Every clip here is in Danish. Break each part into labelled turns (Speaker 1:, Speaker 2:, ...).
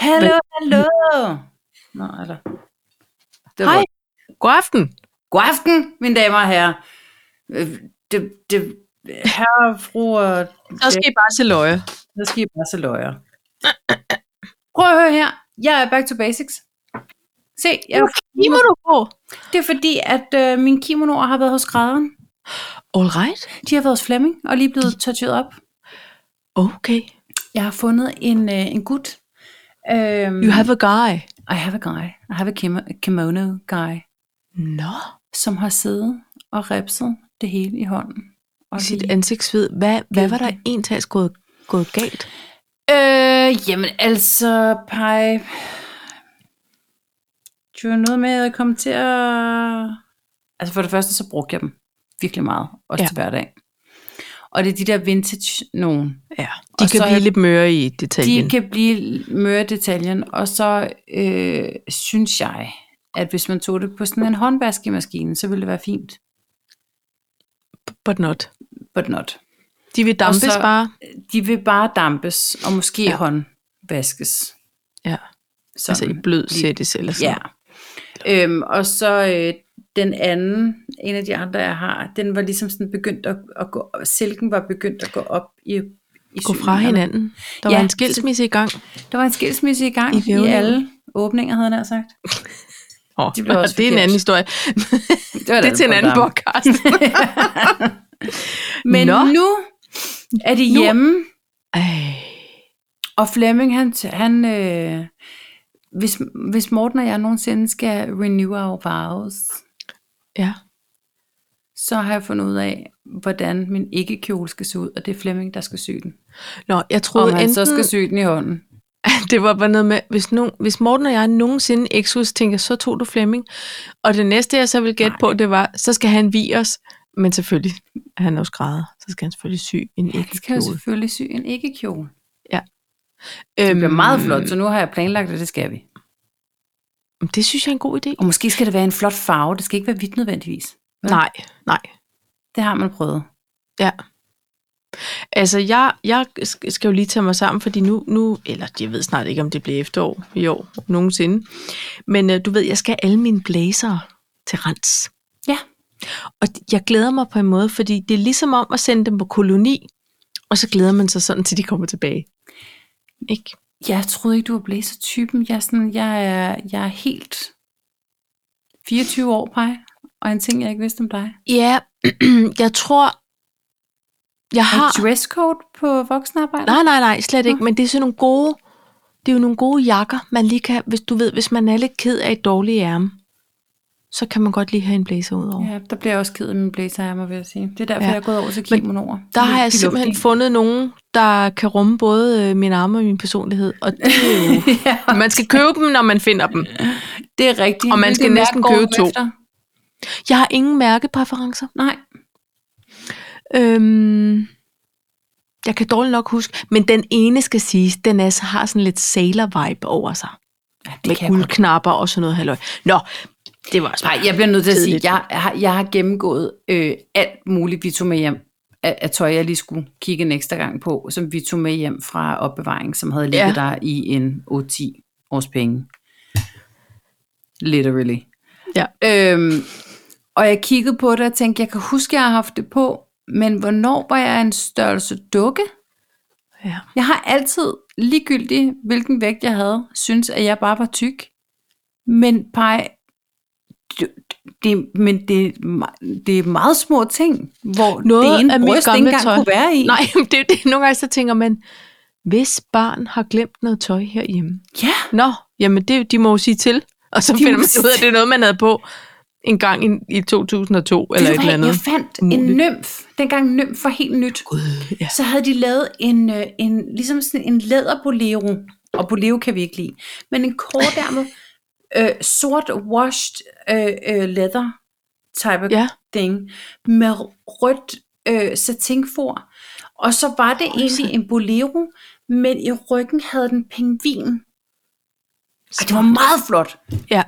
Speaker 1: Hallo, hallo. Nå, eller... Det var
Speaker 2: Hej. God aften.
Speaker 1: God aften, mine damer og herrer. Øh, Det, det, herre, fruer,
Speaker 2: Så skal I bare se løje.
Speaker 1: så skal I bare se løjer. Prøv at høre her. Jeg er back to basics. Se, jeg,
Speaker 2: Hvor må du gå?
Speaker 1: det er fordi, at øh, mine kimonoer har været hos skrædderen.
Speaker 2: All right.
Speaker 1: De har været hos Flemming og lige blevet touchet op.
Speaker 2: Okay.
Speaker 1: Jeg har fundet en, øh, en gut. Øhm,
Speaker 2: You have a guy.
Speaker 1: I have a guy. I have a kimo- kimono guy.
Speaker 2: Nå.
Speaker 1: som har siddet og repset det hele i hånden. Og
Speaker 2: Sit
Speaker 1: lige-
Speaker 2: ansigtsvid. Hvad, hvad var der egentlig gået, gået galt?
Speaker 1: øh, jamen altså, Pai, det var noget med at komme til at... Altså for det første, så brugte jeg dem virkelig meget, også
Speaker 2: Ja.
Speaker 1: ja. til hverdag. Og det er de der vintage nogen.
Speaker 2: Ja. De
Speaker 1: Og
Speaker 2: kan
Speaker 1: så
Speaker 2: blive
Speaker 1: er-
Speaker 2: lidt møre i detaljen.
Speaker 1: De kan blive møre i detaljen, og så øh, synes jeg, at hvis man tog det på sådan en håndvaskemaskine, så ville det være fint.
Speaker 2: But not.
Speaker 1: But not.
Speaker 2: De vil dampes
Speaker 1: så-
Speaker 2: bare.
Speaker 1: De vil bare dampes, og måske
Speaker 2: Ja.
Speaker 1: ja. håndvaskes.
Speaker 2: Ja.
Speaker 1: Sådan.
Speaker 2: Altså i blød
Speaker 1: Lige-
Speaker 2: sættes eller sådan.
Speaker 1: Ja. Øhm, og så øh, den anden, en af de andre, jeg har, den var ligesom sådan begyndt at, at gå, silken var begyndt at gå op i, i
Speaker 2: Gå fra
Speaker 1: syningerne.
Speaker 2: hinanden. Der
Speaker 1: Ja,
Speaker 2: var en
Speaker 1: så-
Speaker 2: skilsmisse i gang.
Speaker 1: Der var en skilsmisse i gang
Speaker 2: I
Speaker 1: i, i
Speaker 2: vævningen.
Speaker 1: alle åbninger, havde han sagt.
Speaker 2: Oh,
Speaker 1: det blev også
Speaker 2: det er en
Speaker 1: forkert.
Speaker 2: anden historie.
Speaker 1: var
Speaker 2: det er til en anden
Speaker 1: program.
Speaker 2: podcast.
Speaker 1: Men
Speaker 2: Nå.
Speaker 1: Nå. nu er de
Speaker 2: Nu-
Speaker 1: hjemme,
Speaker 2: Ej.
Speaker 1: og Flemming, han, han øh, hvis, hvis Morten og jeg nogensinde skal renew our vows,
Speaker 2: Ja.
Speaker 1: så har jeg fundet ud af, hvordan min ikke-kjole skal se ud, og det er Flemming, der skal sy den.
Speaker 2: Nå, jeg troede
Speaker 1: Om han
Speaker 2: enten,
Speaker 1: så skal sy den i hånden.
Speaker 2: det var bare noget med, hvis, nogen, hvis Morten og jeg nogensinde eksus tænker, så tog du Flemming. Og det næste, jeg så ville gætte
Speaker 1: Nej.
Speaker 2: på, det var, så skal han vi os. Men selvfølgelig, han er jo skrædder, så skal han selvfølgelig sy en
Speaker 1: Det skal jo
Speaker 2: ægte
Speaker 1: selvfølgelig sy en ikke-kjole. Det
Speaker 2: øhm,
Speaker 1: bliver meget flot, så nu har jeg planlagt, at det skal vi.
Speaker 2: Det synes jeg er en god idé.
Speaker 1: Og måske skal det være en flot farve. Det skal ikke være hvidt nødvendigvis. Vel?
Speaker 2: Nej, nej.
Speaker 1: Det har man prøvet.
Speaker 2: Altså, jeg, jeg sk- skal jo lige tage mig sammen, fordi nu, nu eller jeg ved snart ikke, om det bliver efterår i år, nogensinde. Men øh, du ved, jeg skal have alle mine blazer til rens.
Speaker 1: Ja.
Speaker 2: Og d- jeg glæder mig på en måde, fordi det er ligesom om at sende dem på koloni, og så glæder man sig sådan, til de kommer tilbage. Ikke?
Speaker 1: Jeg troede ikke, du var blæsertypen. Jeg er, sådan, jeg er, jeg er helt 24 år, Paj, og en ting, jeg ikke vidste om dig.
Speaker 2: Ja, jeg tror, jeg
Speaker 1: Har
Speaker 2: har...
Speaker 1: du dresscode på voksenarbejde?
Speaker 2: Nej, nej, nej, slet ikke.
Speaker 1: Nå.
Speaker 2: Men det er sådan nogle gode, det er jo nogle gode jakker, man lige kan, hvis du ved, hvis man er lidt ked af et dårligt ærme, så kan man godt lige have en blæser ud over. Ja,
Speaker 1: Ja, der bliver jeg også ked af min blæserærmer, vil jeg sige. Det er derfor,
Speaker 2: Ja.
Speaker 1: ja. jeg er gået over til kimonoer.
Speaker 2: der
Speaker 1: Fordi
Speaker 2: har jeg
Speaker 1: de
Speaker 2: simpelthen
Speaker 1: lugter.
Speaker 2: fundet nogen, der kan rumme både øh, min arme og min personlighed. Og det er jo,
Speaker 1: ja,
Speaker 2: man skal købe dem, når man finder dem.
Speaker 1: det er rigtigt.
Speaker 2: Og man skal
Speaker 1: Hvilket mærke
Speaker 2: næsten
Speaker 1: går
Speaker 2: købe
Speaker 1: du
Speaker 2: to.
Speaker 1: efter?
Speaker 2: Jeg har ingen mærkepræferencer.
Speaker 1: Nej,
Speaker 2: Øhm, jeg kan dårligt nok huske, men den ene skal siges, den er, har sådan lidt sailor-vibe over sig.
Speaker 1: ja,
Speaker 2: med guldknapper og sådan noget halløj. Nå, det var også
Speaker 1: Nej, jeg bliver nødt til at sige,
Speaker 2: Kedeligt.
Speaker 1: jeg har, jeg har gennemgået øh, alt muligt, vi tog med hjem af, af tøj, jeg lige skulle kigge en ekstra gang på, som vi tog med hjem fra opbevaring, som havde ligget
Speaker 2: Ja.
Speaker 1: ja. der i en 8-10 års penge. Literally.
Speaker 2: Ja.
Speaker 1: Øhm, og jeg kiggede på det og tænkte, jeg kan huske, jeg har haft det på, men hvornår var jeg en størrelse dukke?
Speaker 2: Ja.
Speaker 1: Jeg har altid, ligegyldigt hvilken vægt jeg havde, synes at jeg bare var tyk. Men pej, det, det, men det, er me- det er meget små ting, hvor
Speaker 2: Noget
Speaker 1: det ene
Speaker 2: af mit
Speaker 1: bryst ikke
Speaker 2: gamle
Speaker 1: engang
Speaker 2: tøj.
Speaker 1: kunne være i.
Speaker 2: Nej, men det er jo det. Nogle gange så tænker man, hvis barn har glemt noget tøj herhjemme.
Speaker 1: Ja,
Speaker 2: Nå, jamen det, de må jo sige til. Og så
Speaker 1: De
Speaker 2: finder
Speaker 1: må
Speaker 2: man
Speaker 1: sige
Speaker 2: ud af, at
Speaker 1: til.
Speaker 2: det er noget, man havde på en gang i, i 2002 eller
Speaker 1: Ved
Speaker 2: et
Speaker 1: du
Speaker 2: eller
Speaker 1: hvad?
Speaker 2: andet.
Speaker 1: jeg fandt
Speaker 2: Umuligt.
Speaker 1: en nymf. Dengang nymf var helt nyt.
Speaker 2: Gud, ja.
Speaker 1: Så havde de lavet en, øh, en ligesom sådan en læderbolero, og bolero kan vi ikke lide, men en kortærmet, øh, sort washed øh, øh, leather type
Speaker 2: Ja,
Speaker 1: thing med rødt øh, satinfor. Og så var det egentlig en bolero, men i ryggen havde den pingvin. Og det var meget flot.
Speaker 2: Ja.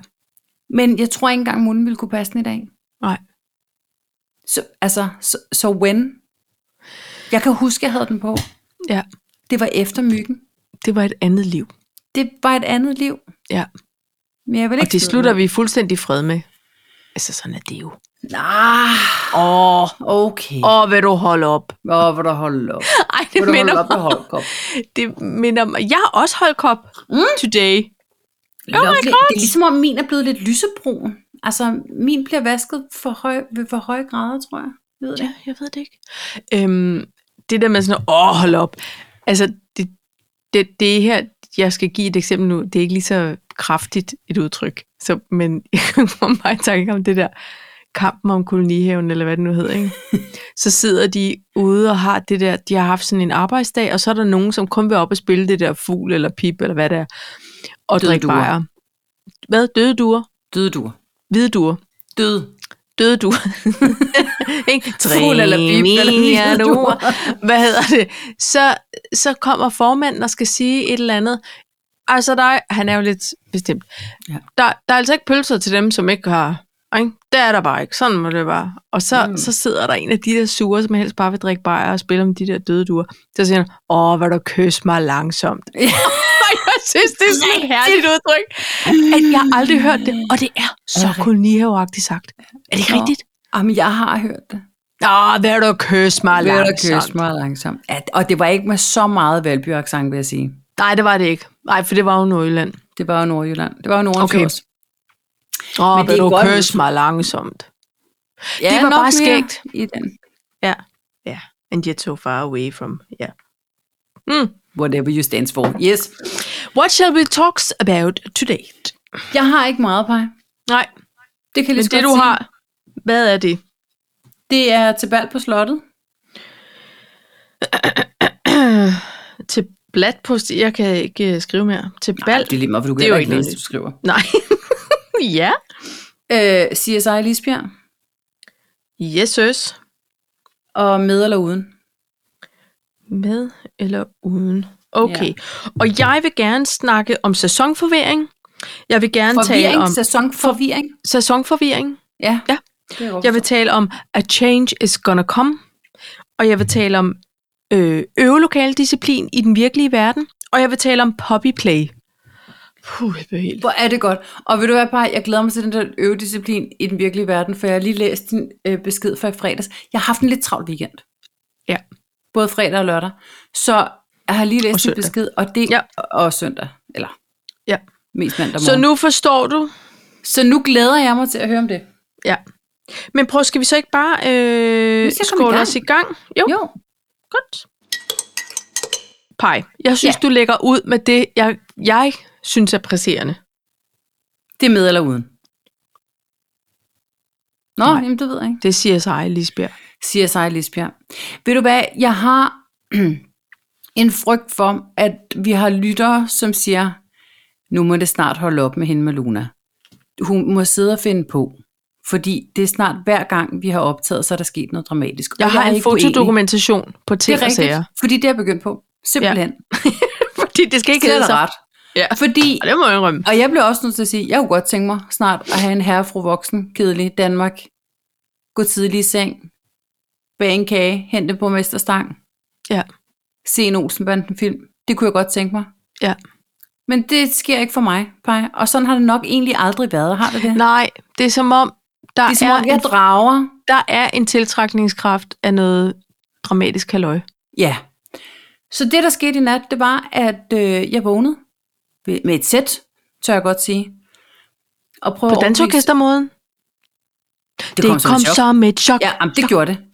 Speaker 1: Men jeg tror ikke engang, munden ville kunne passe den i dag.
Speaker 2: Nej.
Speaker 1: Så, altså, så, så when? Jeg kan huske, jeg havde den på.
Speaker 2: Ja.
Speaker 1: Det var efter myggen.
Speaker 2: det var et andet liv.
Speaker 1: Det er bare et andet liv.
Speaker 2: Ja.
Speaker 1: Men jeg vil ikke
Speaker 2: Og det slutter vi fuldstændig i fred med. Altså, sådan er det jo.
Speaker 1: Nej,
Speaker 2: Åh,
Speaker 1: Ah. okay. Åh,
Speaker 2: åh, vil du holde op?
Speaker 1: oh, hvor der holder op.
Speaker 2: Ej,
Speaker 1: Hvor
Speaker 2: det
Speaker 1: der
Speaker 2: minder
Speaker 1: holder op med
Speaker 2: mig.
Speaker 1: holdkop.
Speaker 2: Det minder mig. Jeg har også holdt kop
Speaker 1: Mm.
Speaker 2: today.
Speaker 1: Oh
Speaker 2: my
Speaker 1: det, det er ligesom om min er blevet lidt lysebrun. Altså, min bliver vasket for høj, ved for høje grader, tror jeg. Jeg Ved det.
Speaker 2: Ja, jeg ved det ikke. Øhm, det der med sådan, åh, hold op. Altså, det, det, det her, jeg skal give et eksempel nu, det er ikke lige så kraftigt et udtryk. Så, men jeg kommer bare i tanke om det der kampen om kolonihaven, eller hvad det nu hedder, ikke? Så sidder de ude og har det der, de har haft sådan en arbejdsdag, og så er der nogen, som kun vil op og spille det der fugl eller pip, eller hvad det er, og
Speaker 1: Døde
Speaker 2: drikke
Speaker 1: duer.
Speaker 2: bajer. Hvad? Døde duer?
Speaker 1: Døde du?
Speaker 2: Hvide duer?
Speaker 1: Døde.
Speaker 2: døde du. Ikke?
Speaker 1: Fugl eller pip eller
Speaker 2: Trænia
Speaker 1: hvide
Speaker 2: du.
Speaker 1: duer.
Speaker 2: Hvad hedder det? Så, så kommer formanden og skal sige et eller andet. Altså der er, han er jo lidt bestemt.
Speaker 1: Ja.
Speaker 2: Ja. Der, der er altså ikke pølser til dem, som ikke har... Ikke? Det er der bare ikke. Sådan må det være. Og så,
Speaker 1: Mm.
Speaker 2: mm. så sidder der en af de der sure, som helst bare vil drikke bajer og spille om de der døde duer. Så siger han, åh, hvor du kys mig langsomt.
Speaker 1: Ja.
Speaker 2: Og jeg synes, det er sådan et herligt udtryk, at jeg har aldrig hørt det. Og det er så
Speaker 1: rigtigt?
Speaker 2: kolonihaveagtigt sagt. Er det ikke
Speaker 1: Nå.
Speaker 2: rigtigt?
Speaker 1: Jamen, jeg har hørt det.
Speaker 2: Åh, vil du kysse mig
Speaker 1: Vil du
Speaker 2: langsomt?
Speaker 1: kysse mig langsomt. Ja, og det var ikke med så meget valby vil jeg sige.
Speaker 2: Nej, det var det ikke. Nej, for det var jo Nordjylland.
Speaker 1: Det var jo Nordjylland. Det var jo Nordjylland.
Speaker 2: Okay.
Speaker 1: Men
Speaker 2: Åh,
Speaker 1: det
Speaker 2: vil
Speaker 1: er
Speaker 2: du
Speaker 1: godt-
Speaker 2: kysse mig langsomt?
Speaker 1: Ja,
Speaker 2: Det var
Speaker 1: nok
Speaker 2: bare
Speaker 1: mere
Speaker 2: skægt.
Speaker 1: I den.
Speaker 2: And yet so far away from, yeah. Mm.
Speaker 1: Whatever you stands for. Yes.
Speaker 2: What shall we talk about today?
Speaker 1: Jeg har ikke meget pej.
Speaker 2: Nej,
Speaker 1: Det kan jeg
Speaker 2: men
Speaker 1: lige så godt
Speaker 2: det du
Speaker 1: sige.
Speaker 2: har, hvad er det?
Speaker 1: Det er til bal på slottet.
Speaker 2: Til blat på, sti- jeg kan ikke øh, skrive mere. Til
Speaker 1: Ej,
Speaker 2: bal?
Speaker 1: det er lige meget, for du kan
Speaker 2: Det er jo
Speaker 1: heller ikke
Speaker 2: ikke
Speaker 1: læse,
Speaker 2: noget
Speaker 1: det, du skriver.
Speaker 2: Nej. ja.
Speaker 1: Øh, CSI Lisbjerg.
Speaker 2: Yes, søs.
Speaker 1: Og med eller uden.
Speaker 2: Med eller uden? Okay. Og jeg vil gerne snakke om sæsonforvirring. Jeg vil gerne tale
Speaker 1: Forvirring,
Speaker 2: om
Speaker 1: sæsonforvirring.
Speaker 2: sæsonforvirring.
Speaker 1: Ja.
Speaker 2: Ja.
Speaker 1: Det er
Speaker 2: Jeg vil tale om, a change is gonna come. Og jeg vil tale om øh, øvelokal disciplin i den virkelige verden. Og jeg vil tale om poppy play. Puh, jeg blev helt...
Speaker 1: Hvor er det godt. Og ved du hvad, Paj, jeg glæder mig til den der øvedisciplin i den virkelige verden, for jeg har lige læst din øh, besked fra i fredags. Jeg har haft en lidt travl weekend.
Speaker 2: Ja.
Speaker 1: Både fredag og lørdag. Så jeg har lige
Speaker 2: Og
Speaker 1: læst din
Speaker 2: søndag.
Speaker 1: besked, og det
Speaker 2: Ja.
Speaker 1: og søndag. Eller
Speaker 2: Ja.
Speaker 1: mest mandag morgen.
Speaker 2: Så nu forstår du.
Speaker 1: så nu glæder jeg mig til at høre om det.
Speaker 2: Ja. Men prøv, skal vi så ikke bare
Speaker 1: Vi
Speaker 2: øh,
Speaker 1: skal komme i
Speaker 2: skåle
Speaker 1: gang.
Speaker 2: os i gang? Jo,
Speaker 1: Jo.
Speaker 2: godt. Pej, jeg synes, ja. du lægger ud med det, jeg, jeg synes er presserende.
Speaker 1: Det er med eller uden. Nå,
Speaker 2: Nej.
Speaker 1: jamen det ved jeg ikke.
Speaker 2: Det siger sig, Lisbjerg.
Speaker 1: siger sig Lisbjerg. Ved du hvad, jeg har en frygt for, at vi har lyttere, som siger, nu må det snart holde op med hende med Luna. Hun må sidde og finde på, fordi det er snart hver gang, vi har optaget, så er der sket noget dramatisk. Og
Speaker 2: Jeg har
Speaker 1: er
Speaker 2: en
Speaker 1: ikke uenig.
Speaker 2: fotodokumentation på
Speaker 1: Det
Speaker 2: ting
Speaker 1: er
Speaker 2: og sager.
Speaker 1: rigtigt, fordi det er jeg begyndt på. Simpelthen. Ja.
Speaker 2: Fordi det skal ikke
Speaker 1: Slet
Speaker 2: hedde
Speaker 1: og
Speaker 2: sig.
Speaker 1: ret.
Speaker 2: Ja.
Speaker 1: Fordi
Speaker 2: Og det må jeg indrømme.
Speaker 1: og jeg blev også nødt til at sige, jeg kunne godt tænke mig snart at have en herre fru voksen, kedelig, Danmark, gå tidlig i seng, bage en kage, hente på mesterstang,
Speaker 2: Ja.
Speaker 1: se en Olsenbanden film. Det kunne jeg godt tænke mig.
Speaker 2: Ja.
Speaker 1: Men det sker ikke for mig, Paj. Og sådan har det nok egentlig aldrig været, har det det?
Speaker 2: Nej, det er som om, der,
Speaker 1: det er som
Speaker 2: er,
Speaker 1: om, jeg
Speaker 2: en,
Speaker 1: drager.
Speaker 2: der er en tiltrækningskraft af noget dramatisk halløj.
Speaker 1: Ja. Så det, der skete i nat, det var, at øh, jeg vågnede ved- med et sæt, tør jeg godt sige. Og prøve
Speaker 2: På dansorkestermåden.
Speaker 1: Det, det kom, som et chok.
Speaker 2: som et chok.
Speaker 1: Ja, jamen, det gjorde det.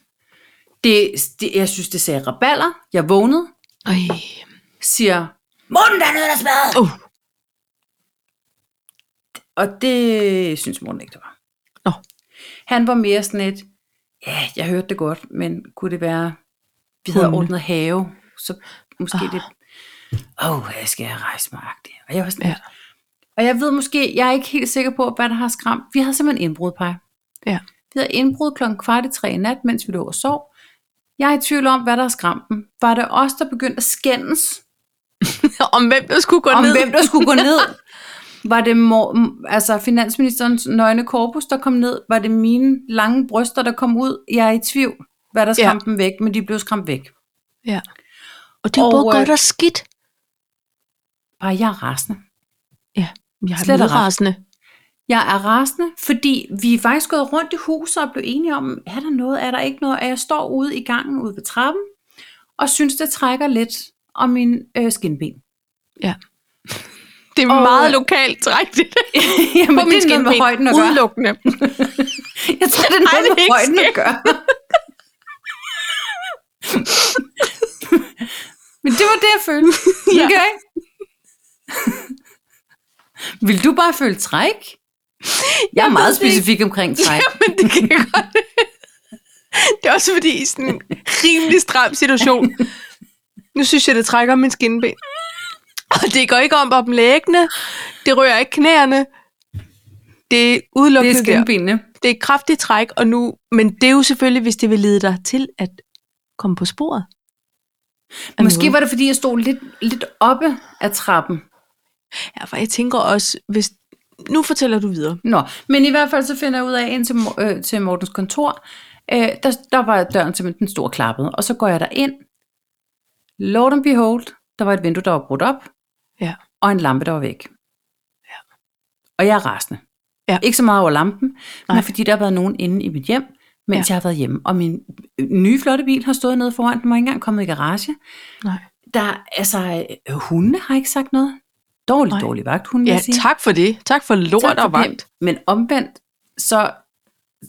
Speaker 1: det. det. Jeg synes, det sagde raballer. Jeg vågnede,
Speaker 2: Ej.
Speaker 1: siger, Morten, der er noget, der er smadret."
Speaker 2: Uh.
Speaker 1: Og det synes Morten ikke, det var.
Speaker 2: Nå.
Speaker 1: Han var mere sådan et, ja, jeg hørte det godt, men kunne det være, vi havde
Speaker 2: Hundene.
Speaker 1: ordnet have, så måske
Speaker 2: Ah.
Speaker 1: det, åh, oh, jeg skal jeg rejse mig agtigt. Og jeg var sådan,
Speaker 2: Ja.
Speaker 1: ja. og jeg ved måske, jeg er ikke helt sikker på, hvad der har skræmt. Vi havde simpelthen indbrud, Paj.
Speaker 2: Ja.
Speaker 1: Vi havde indbrud klokken kvart i tre i nat, mens vi lå og sov. Jeg er i tvivl om, hvad der har skræmt dem. Var det os, der begyndte at skændes
Speaker 2: Om hvem der skulle gå
Speaker 1: om
Speaker 2: ned.
Speaker 1: hvem der skulle gå ned. Var det mor- m- altså finansministerens nøgne korpus, der kom ned? Var det mine lange bryster, der kom ud? Jeg er i tvivl, hvad der
Speaker 2: Ja.
Speaker 1: skræmte dem væk, men de blev skræmt væk.
Speaker 2: Og det er jo
Speaker 1: Og,
Speaker 2: både
Speaker 1: øh,
Speaker 2: godt og skidt.
Speaker 1: Bare, jeg er rasende.
Speaker 2: Jeg
Speaker 1: Slet
Speaker 2: er
Speaker 1: og ret.
Speaker 2: modrasende.
Speaker 1: Jeg er rasende, fordi vi er faktisk gået rundt i huset og blev enige om, er der noget, er der ikke noget, og jeg står ude i gangen ude ved trappen, og synes, det trækker lidt om min øh, skinben.
Speaker 2: Det er
Speaker 1: Og-
Speaker 2: meget lokalt træk, det der.
Speaker 1: Jamen,
Speaker 2: På min
Speaker 1: det er noget med
Speaker 2: skinben.
Speaker 1: højden at gøre.
Speaker 2: Udelukkende.
Speaker 1: Jeg tror, det er
Speaker 2: Ej,
Speaker 1: noget
Speaker 2: det er
Speaker 1: med
Speaker 2: ikke
Speaker 1: højden at gøre. Men det var det, jeg følte.
Speaker 2: Ja.
Speaker 1: Okay. Vil du bare føle træk? Jeg er
Speaker 2: Jeg
Speaker 1: meget
Speaker 2: ved det ikke.
Speaker 1: specifik omkring træk.
Speaker 2: Jamen, det kan jeg godt. Det er også fordi, i sådan en rimelig stram situation, nu synes jeg, det trækker om min skinneben. Og det går ikke om på dem læggende. Det rører ikke knæerne. Det er
Speaker 1: Det er
Speaker 2: udelukkende det er, der.
Speaker 1: skinbenene.
Speaker 2: det er et kraftigt træk, og nu, men det er jo selvfølgelig, hvis det vil lede dig til at komme på sporet. af
Speaker 1: Måske
Speaker 2: noget.
Speaker 1: var det, fordi jeg stod lidt, lidt oppe af trappen.
Speaker 2: Ja, for jeg tænker også, hvis... Nu fortæller du videre.
Speaker 1: Nå, men i hvert fald så finder jeg ud af ind til, Mor- øh, til Mortens kontor. Øh, der, der var døren simpelthen den store klappet, og så går jeg derind. Lord and behold, der var et vindue, der var brudt op,
Speaker 2: Ja.
Speaker 1: og en lampe, der var væk. Ja. Og jeg er rasende.
Speaker 2: Ja.
Speaker 1: Ikke så meget over lampen, Nej.
Speaker 2: Nej.
Speaker 1: men fordi der har været nogen inde i mit hjem, mens ja. jeg har været hjemme. Og min øh, nye flotte bil har stået nede foran, den var ikke engang kommet i garage.
Speaker 2: Nej.
Speaker 1: Der, altså, øh, hundene har ikke sagt noget. Dårlig,
Speaker 2: Nej.
Speaker 1: dårlig vagt, hun vil
Speaker 2: Ja,
Speaker 1: jeg sige.
Speaker 2: tak for det. Tak for lort
Speaker 1: Tak for
Speaker 2: og vagt.
Speaker 1: det. Men omvendt, så,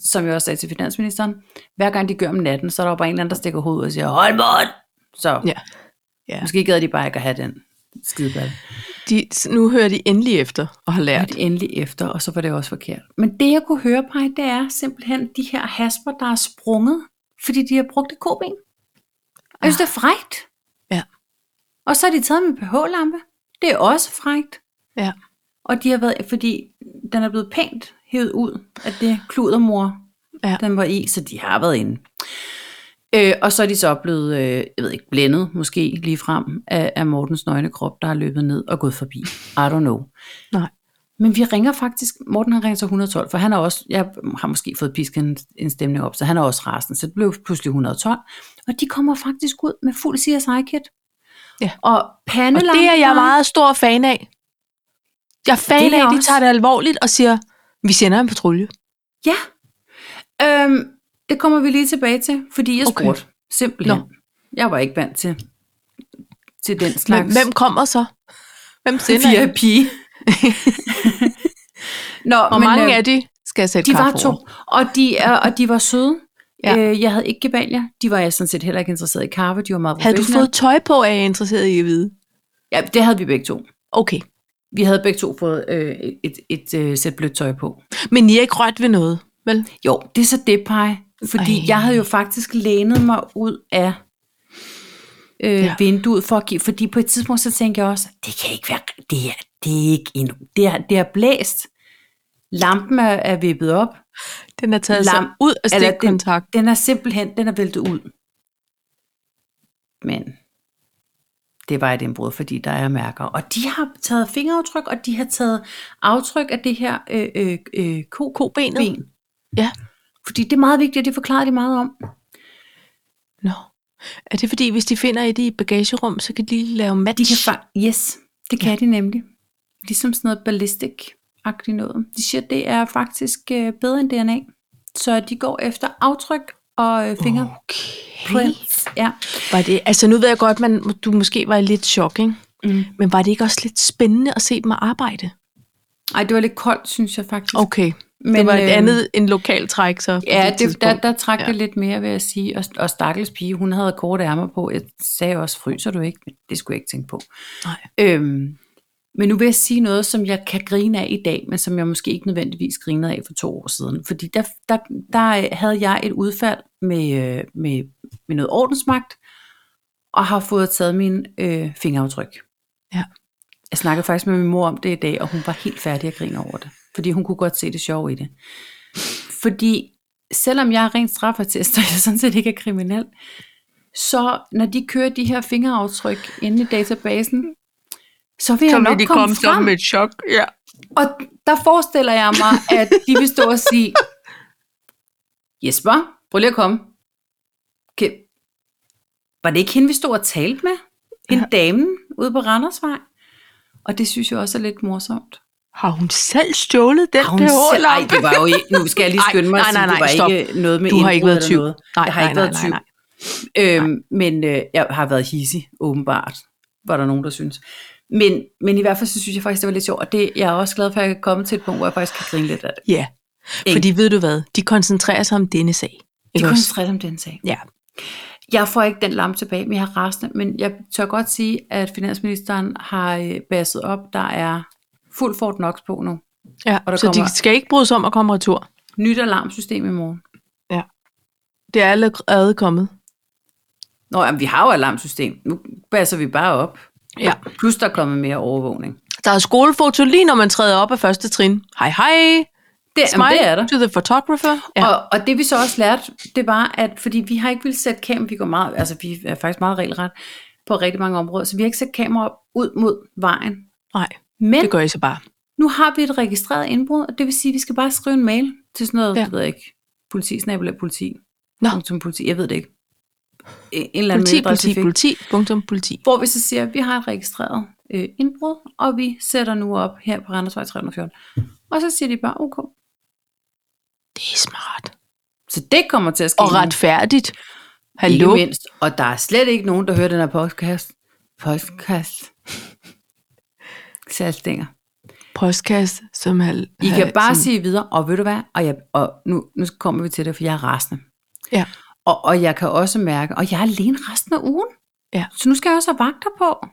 Speaker 1: som jeg også sagde til finansministeren, hver gang de gør om natten, så er der jo bare en eller anden, der stikker hovedet ud og siger, hold på hånd! Så
Speaker 2: Ja. Ja.
Speaker 1: måske gad de bare ikke at have den skideball.
Speaker 2: De, nu hører de endelig efter og har
Speaker 1: Ja.
Speaker 2: lært.
Speaker 1: Og endelig efter, og så var det også forkert. Men det, jeg kunne høre, på det er simpelthen de her hasper, der er sprunget, fordi de har brugt et koben. Jeg synes, det er frægt.
Speaker 2: Ah. Ja.
Speaker 1: Og så har de taget min pH-lampe. Det er også frægt.
Speaker 2: Ja.
Speaker 1: Og de har været, fordi den er blevet pænt hævet ud af det kludermor,
Speaker 2: Ja.
Speaker 1: den var i, så de har været inde. Øh, og så er de så blevet, øh, jeg ved ikke, blændet måske lige frem af, af Mortens nøgne krop, der er løbet ned og gået forbi. I don't know.
Speaker 2: Nej.
Speaker 1: Men vi ringer faktisk, Morten han ringer til 112, for han er også, jeg har måske fået pisket en, en stemning op, så han er også rasende, så det blev pludselig 112. Og de kommer faktisk ud med fuld CSI-kit.
Speaker 2: Ja.
Speaker 1: Og
Speaker 2: Og
Speaker 1: pandelamper.
Speaker 2: det er jeg meget stor fan af. Jeg er fan
Speaker 1: Det er
Speaker 2: af,
Speaker 1: jeg
Speaker 2: at de
Speaker 1: også.
Speaker 2: tager det alvorligt og siger, vi sender en patrulje.
Speaker 1: Ja. Øhm, det kommer vi lige tilbage til, fordi jeg
Speaker 2: Okay.
Speaker 1: spurgte. Simpelthen.
Speaker 2: Nå.
Speaker 1: Jeg var ikke vant til, til den
Speaker 2: Hvem,
Speaker 1: slags.
Speaker 2: hvem kommer så? Hvem sender
Speaker 1: Fire
Speaker 2: en?
Speaker 1: pige. Nå,
Speaker 2: Hvor
Speaker 1: men,
Speaker 2: mange
Speaker 1: øh,
Speaker 2: af de skal jeg sætte
Speaker 1: de var
Speaker 2: kaffe
Speaker 1: to,
Speaker 2: over?
Speaker 1: og de, er- og de var søde.
Speaker 2: Ja.
Speaker 1: Ja. Øh, jeg havde ikke gebalier. De var jeg sådan set heller ikke interesseret i kaffe. De var meget
Speaker 2: Havde du
Speaker 1: professionelle.
Speaker 2: fået tøj på, er jeg interesseret i at vide?
Speaker 1: Ja, det havde vi begge to.
Speaker 2: Okay.
Speaker 1: Vi havde begge to fået øh, et, et, øh, sæt blødt tøj på.
Speaker 2: Men I er ikke rørt ved noget, vel?
Speaker 1: Jo, det er så det, Paj. Fordi
Speaker 2: Ej.
Speaker 1: Ej. jeg havde jo faktisk lænet mig ud af øh,
Speaker 2: Ja.
Speaker 1: ja. vinduet for at give, fordi på et tidspunkt så tænkte jeg også, det kan ikke være, det er, det er ikke endnu, det er, det er blæst. Lampen er, er vippet op.
Speaker 2: Den er taget sig
Speaker 1: Lam-
Speaker 2: ud af
Speaker 1: Eller
Speaker 2: stikkontakt.
Speaker 1: Den, den er simpelthen, den er væltet ud. Men det var et indbrud, fordi der er mærker. Og de har taget fingeraftryk, og de har taget aftryk af det her øh, øh, øh, ko,
Speaker 2: Kobenet?
Speaker 1: ben.
Speaker 2: Ja.
Speaker 1: Fordi det er meget vigtigt, og det forklarer de meget om.
Speaker 2: Nå. Er det fordi, hvis de finder et i bagagerum, så kan de lige lave match?
Speaker 1: De kan fa- yes, det kan de nemlig. Ligesom sådan noget ballistik-agtigt noget. De siger, det er faktisk øh, bedre end DNA. Så de går efter aftryk og øh,
Speaker 2: okay.
Speaker 1: fingerprints. Okay. Ja.
Speaker 2: Var det, altså nu ved jeg godt, man, du måske var i lidt chok, ikke?
Speaker 1: Mm.
Speaker 2: men var det ikke også lidt spændende at se dem arbejde?
Speaker 1: Ej, det var lidt koldt, synes jeg faktisk.
Speaker 2: Okay,
Speaker 1: Men,
Speaker 2: det var et
Speaker 1: øhm,
Speaker 2: andet end lokalt træk, så. på
Speaker 1: Ja, det,
Speaker 2: tidspunkt.
Speaker 1: der, der trak ja.
Speaker 2: Ja.
Speaker 1: det lidt mere, vil jeg sige. Og, og stakkels pige, hun havde korte ærmer på. Jeg sagde også, fryser du ikke? Men det skulle jeg ikke tænke på.
Speaker 2: Nej.
Speaker 1: Øhm, men nu vil jeg sige noget, som jeg kan grine af i dag, men som jeg måske ikke nødvendigvis grinede af for to år siden. Fordi der, der, der øh, havde jeg et udfald med, øh, med, med noget ordensmagt, og har fået taget mine øh, fingeraftryk.
Speaker 2: Ja.
Speaker 1: Jeg snakkede faktisk med min mor om det i dag, og hun var helt færdig at grine over det. Fordi hun kunne godt se det sjove i det. Fordi selvom jeg er rent straffatist, og jeg sådan set ikke er kriminel, så når de kører de her fingeraftryk inde i databasen, så vil jeg nok komme frem.
Speaker 2: et chok. Ja.
Speaker 1: Og der forestiller jeg mig, at de vil stå og sige, Jesper, prøv lige at komme. Okay. Var det ikke hende, vi stod og talte med? Hende ja. damen ude på Randersvej? Og det synes jeg også er lidt morsomt.
Speaker 2: Har hun selv stjålet den
Speaker 1: Har hun selv- Ej,
Speaker 2: pH-lampe?
Speaker 1: det var jo ikke, nu skal jeg lige
Speaker 2: Nej,
Speaker 1: skynde mig,
Speaker 2: nej,
Speaker 1: at sige,
Speaker 2: nej,
Speaker 1: det var
Speaker 2: stop.
Speaker 1: ikke noget med
Speaker 2: Du har ikke
Speaker 1: indbrud
Speaker 2: været
Speaker 1: eller
Speaker 2: tyv.
Speaker 1: noget.
Speaker 2: Nej,
Speaker 1: Jeg har ikke
Speaker 2: nej,
Speaker 1: været
Speaker 2: nej,
Speaker 1: tyv.
Speaker 2: nej.
Speaker 1: Øhm, men øh, jeg har været hissig, åbenbart, var der nogen, der synes. Men, men i hvert fald så synes jeg faktisk, det var lidt sjovt, og det, jeg er også glad for, at jeg kan komme til et punkt, hvor jeg faktisk kan grine lidt af det.
Speaker 2: Ja,
Speaker 1: Ikke?
Speaker 2: fordi ved du hvad? De koncentrerer sig om denne sag.
Speaker 1: Det
Speaker 2: Ikke
Speaker 1: er kun
Speaker 2: også?
Speaker 1: stridt om den sag.
Speaker 2: Ja.
Speaker 1: Jeg får ikke den lampe tilbage, men jeg har resten, men jeg tør godt sige, at finansministeren har øh, basset op, der er fuld Fort Knox på nu.
Speaker 2: ja.
Speaker 1: Og der
Speaker 2: Så
Speaker 1: kommer-
Speaker 2: de skal ikke bryde sig om at komme retur.
Speaker 1: Nyt alarmsystem i morgen.
Speaker 2: Det er allerede kommet.
Speaker 1: Nå, jamen, vi har jo alarmsystem. Nu basser vi bare op.
Speaker 2: Ja.
Speaker 1: Plus der er kommet mere overvågning.
Speaker 2: Der er skolefoto lige når man træder op af første trin. Hej hej.
Speaker 1: Det, jamen,
Speaker 2: Smile
Speaker 1: det er der.
Speaker 2: to the photographer.
Speaker 1: Ja. Og, og det vi så også lærte, det var, at fordi vi har ikke ville sætte kamera, vi går meget, altså vi er faktisk meget regelret på rigtig mange områder, så vi har ikke sat kamera op ud mod vejen.
Speaker 2: Nej,
Speaker 1: Men
Speaker 2: det gør I så bare.
Speaker 1: nu har vi et registreret indbrud, og det vil sige, at vi skal bare skrive en mail til sådan noget,
Speaker 2: Ja.
Speaker 1: ja. jeg ved ikke, politi, snabel politi.
Speaker 2: Nå.
Speaker 1: Som politi, jeg ved det ikke. E, En, en eller anden
Speaker 2: Politi,
Speaker 1: mailadresse, vi
Speaker 2: politi,
Speaker 1: fik.
Speaker 2: politi, punktum politi.
Speaker 1: Hvor vi så siger, at vi har et registreret øh, indbrud, og vi sætter nu op her på Randersvej 314. Og så siger de bare, okay.
Speaker 2: Det er smart.
Speaker 1: Så det kommer til at ske.
Speaker 2: Og
Speaker 1: nu.
Speaker 2: retfærdigt.
Speaker 1: Ikke
Speaker 2: Hallo.
Speaker 1: mindst. Og der er slet ikke nogen, der hører den her podcast. Podcast. Salgstænger.
Speaker 2: Postkasse, som hal,
Speaker 1: I kan
Speaker 2: hal-
Speaker 1: bare
Speaker 2: som,
Speaker 1: sige videre, og ved du hvad, og, jeg, og nu, nu kommer vi til det, for jeg er rasende.
Speaker 2: Ja.
Speaker 1: Og, og jeg kan også mærke, og jeg er alene resten af ugen.
Speaker 2: Ja.
Speaker 1: Så nu skal jeg også have vagter på.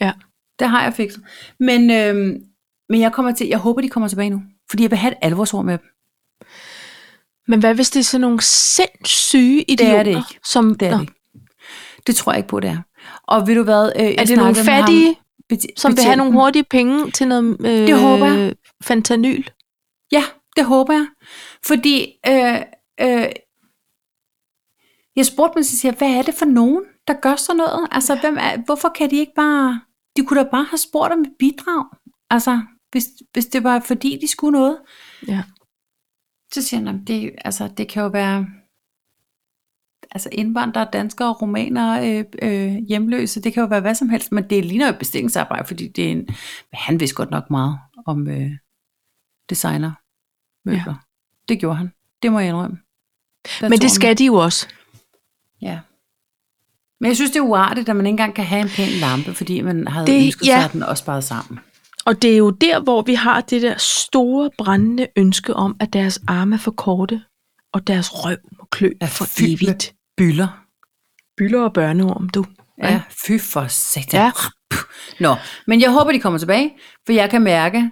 Speaker 2: Ja.
Speaker 1: Det har jeg fikset. Men, øhm, men jeg kommer til, jeg håber, de kommer tilbage nu. Fordi jeg vil have et alvorsord med dem.
Speaker 2: Men hvad hvis det er sådan nogle sindssyge idioter?
Speaker 1: er det ikke.
Speaker 2: Som,
Speaker 1: Det er
Speaker 2: Nå,
Speaker 1: det ikke. Det tror jeg ikke på, det er. Og ved du hvad, øh, jeg
Speaker 2: er det nogle
Speaker 1: snakkede med ham,
Speaker 2: fattige,
Speaker 1: beti-
Speaker 2: som vil have nogle
Speaker 1: betjenten.
Speaker 2: hurtige penge til noget øh,
Speaker 1: Det håber jeg.
Speaker 2: fentanyl?
Speaker 1: Ja, det håber jeg. Fordi øh, øh, jeg spurgte mig, så siger, jeg, hvad er det for nogen, der gør sådan noget? Altså, hvem er, hvorfor kan de ikke bare... De kunne da bare have spurgt om et bidrag. Altså, hvis, hvis det var fordi, de skulle noget.
Speaker 2: Ja.
Speaker 1: Så siger han, det, altså, det kan jo være... Altså indvandrere, danskere, romaner, øh, øh, hjemløse, det kan jo være hvad som helst, men det ligner jo et bestillingsarbejde, fordi det er en... Men han vidste godt nok meget om øh, designer møbler. Ja. Det gjorde han. Det må jeg indrømme. Der tog
Speaker 2: Men det
Speaker 1: han-
Speaker 2: skal de jo også.
Speaker 1: Ja. Men jeg synes, det er uartigt, at man ikke engang kan have en pæn lampe, fordi man havde
Speaker 2: Det-
Speaker 1: det, ønsket
Speaker 2: ja.
Speaker 1: sig, at den også bare sammen.
Speaker 2: Og det er jo der, hvor vi har det der store brændende ønske om, at deres arme er for korte, og deres røv må klø
Speaker 1: Er
Speaker 2: for
Speaker 1: fyldt med
Speaker 2: evigt.
Speaker 1: Byller.
Speaker 2: Byller og børneorm, du.
Speaker 1: Ja, fy for satan.
Speaker 2: Ja.
Speaker 1: Ja. Nå, men jeg håber, de kommer tilbage, for jeg kan mærke,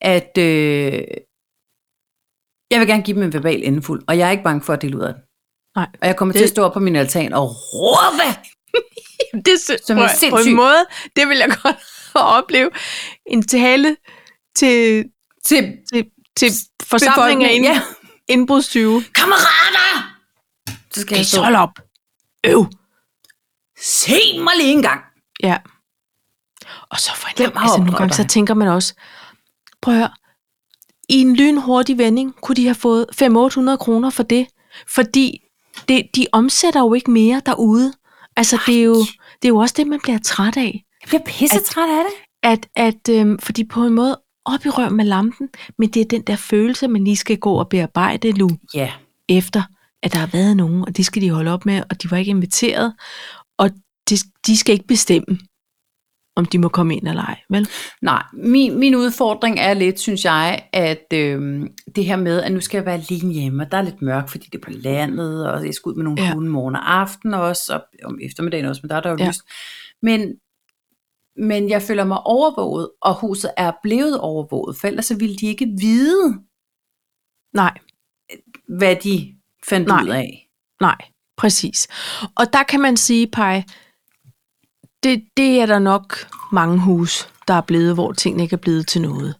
Speaker 1: at øh, jeg vil gerne give dem en verbal endefuld, og jeg er ikke bange for at dele ud af den.
Speaker 2: Nej.
Speaker 1: Og jeg kommer det...
Speaker 2: Det-
Speaker 1: til at stå op på min altan og råbe.
Speaker 2: Det er
Speaker 1: Som er
Speaker 2: på
Speaker 1: sindssyg.
Speaker 2: en måde, det vil jeg godt opleve. En tale til,
Speaker 1: Til
Speaker 2: til, til forsamlingen af
Speaker 1: befolkningen.
Speaker 2: ind,
Speaker 1: Ja.
Speaker 2: ja. indbrudstyve.
Speaker 1: Kammerater! Så skal jeg stå.
Speaker 2: Hold op. Øv.
Speaker 1: Se mig lige en gang.
Speaker 2: Ja. Og så for en
Speaker 1: Hvem har
Speaker 2: altså, nogle
Speaker 1: opdraget
Speaker 2: gange, så
Speaker 1: dig?
Speaker 2: tænker man også, prøv at høre, i en lynhurtig vending kunne de have fået 500-800 kroner for det, fordi det, de omsætter jo ikke mere derude. Altså, det er, jo, det er jo også det, man bliver træt af.
Speaker 1: Jeg bliver pissetræt af det.
Speaker 2: At, at øhm, fordi på en måde op i rør med lampen, men det er den der følelse, man lige skal gå og bearbejde nu
Speaker 1: Ja.
Speaker 2: efter, at der har været nogen, og det skal de holde op med, og de var ikke inviteret, og de, de skal ikke bestemme, om de må komme ind eller ej, vel?
Speaker 1: Nej, min, min udfordring er lidt, synes jeg, at øh, det her med, at nu skal jeg være alene hjemme, og der er lidt mørkt, fordi det er på landet, og jeg skal ud med nogle
Speaker 2: Ja.
Speaker 1: ja. hunde morgen og aften også, og om eftermiddagen også, men der er der jo
Speaker 2: Ja.
Speaker 1: ja. lyst. Men, men jeg føler mig overvåget, og huset er blevet overvåget, for ellers så ville de ikke vide,
Speaker 2: Nej,
Speaker 1: hvad de fandt
Speaker 2: Nej.
Speaker 1: ud af.
Speaker 2: nej, præcis. Og der kan man sige, Paj, det, det er der nok mange hus, der er blevet, hvor tingene ikke er blevet til noget.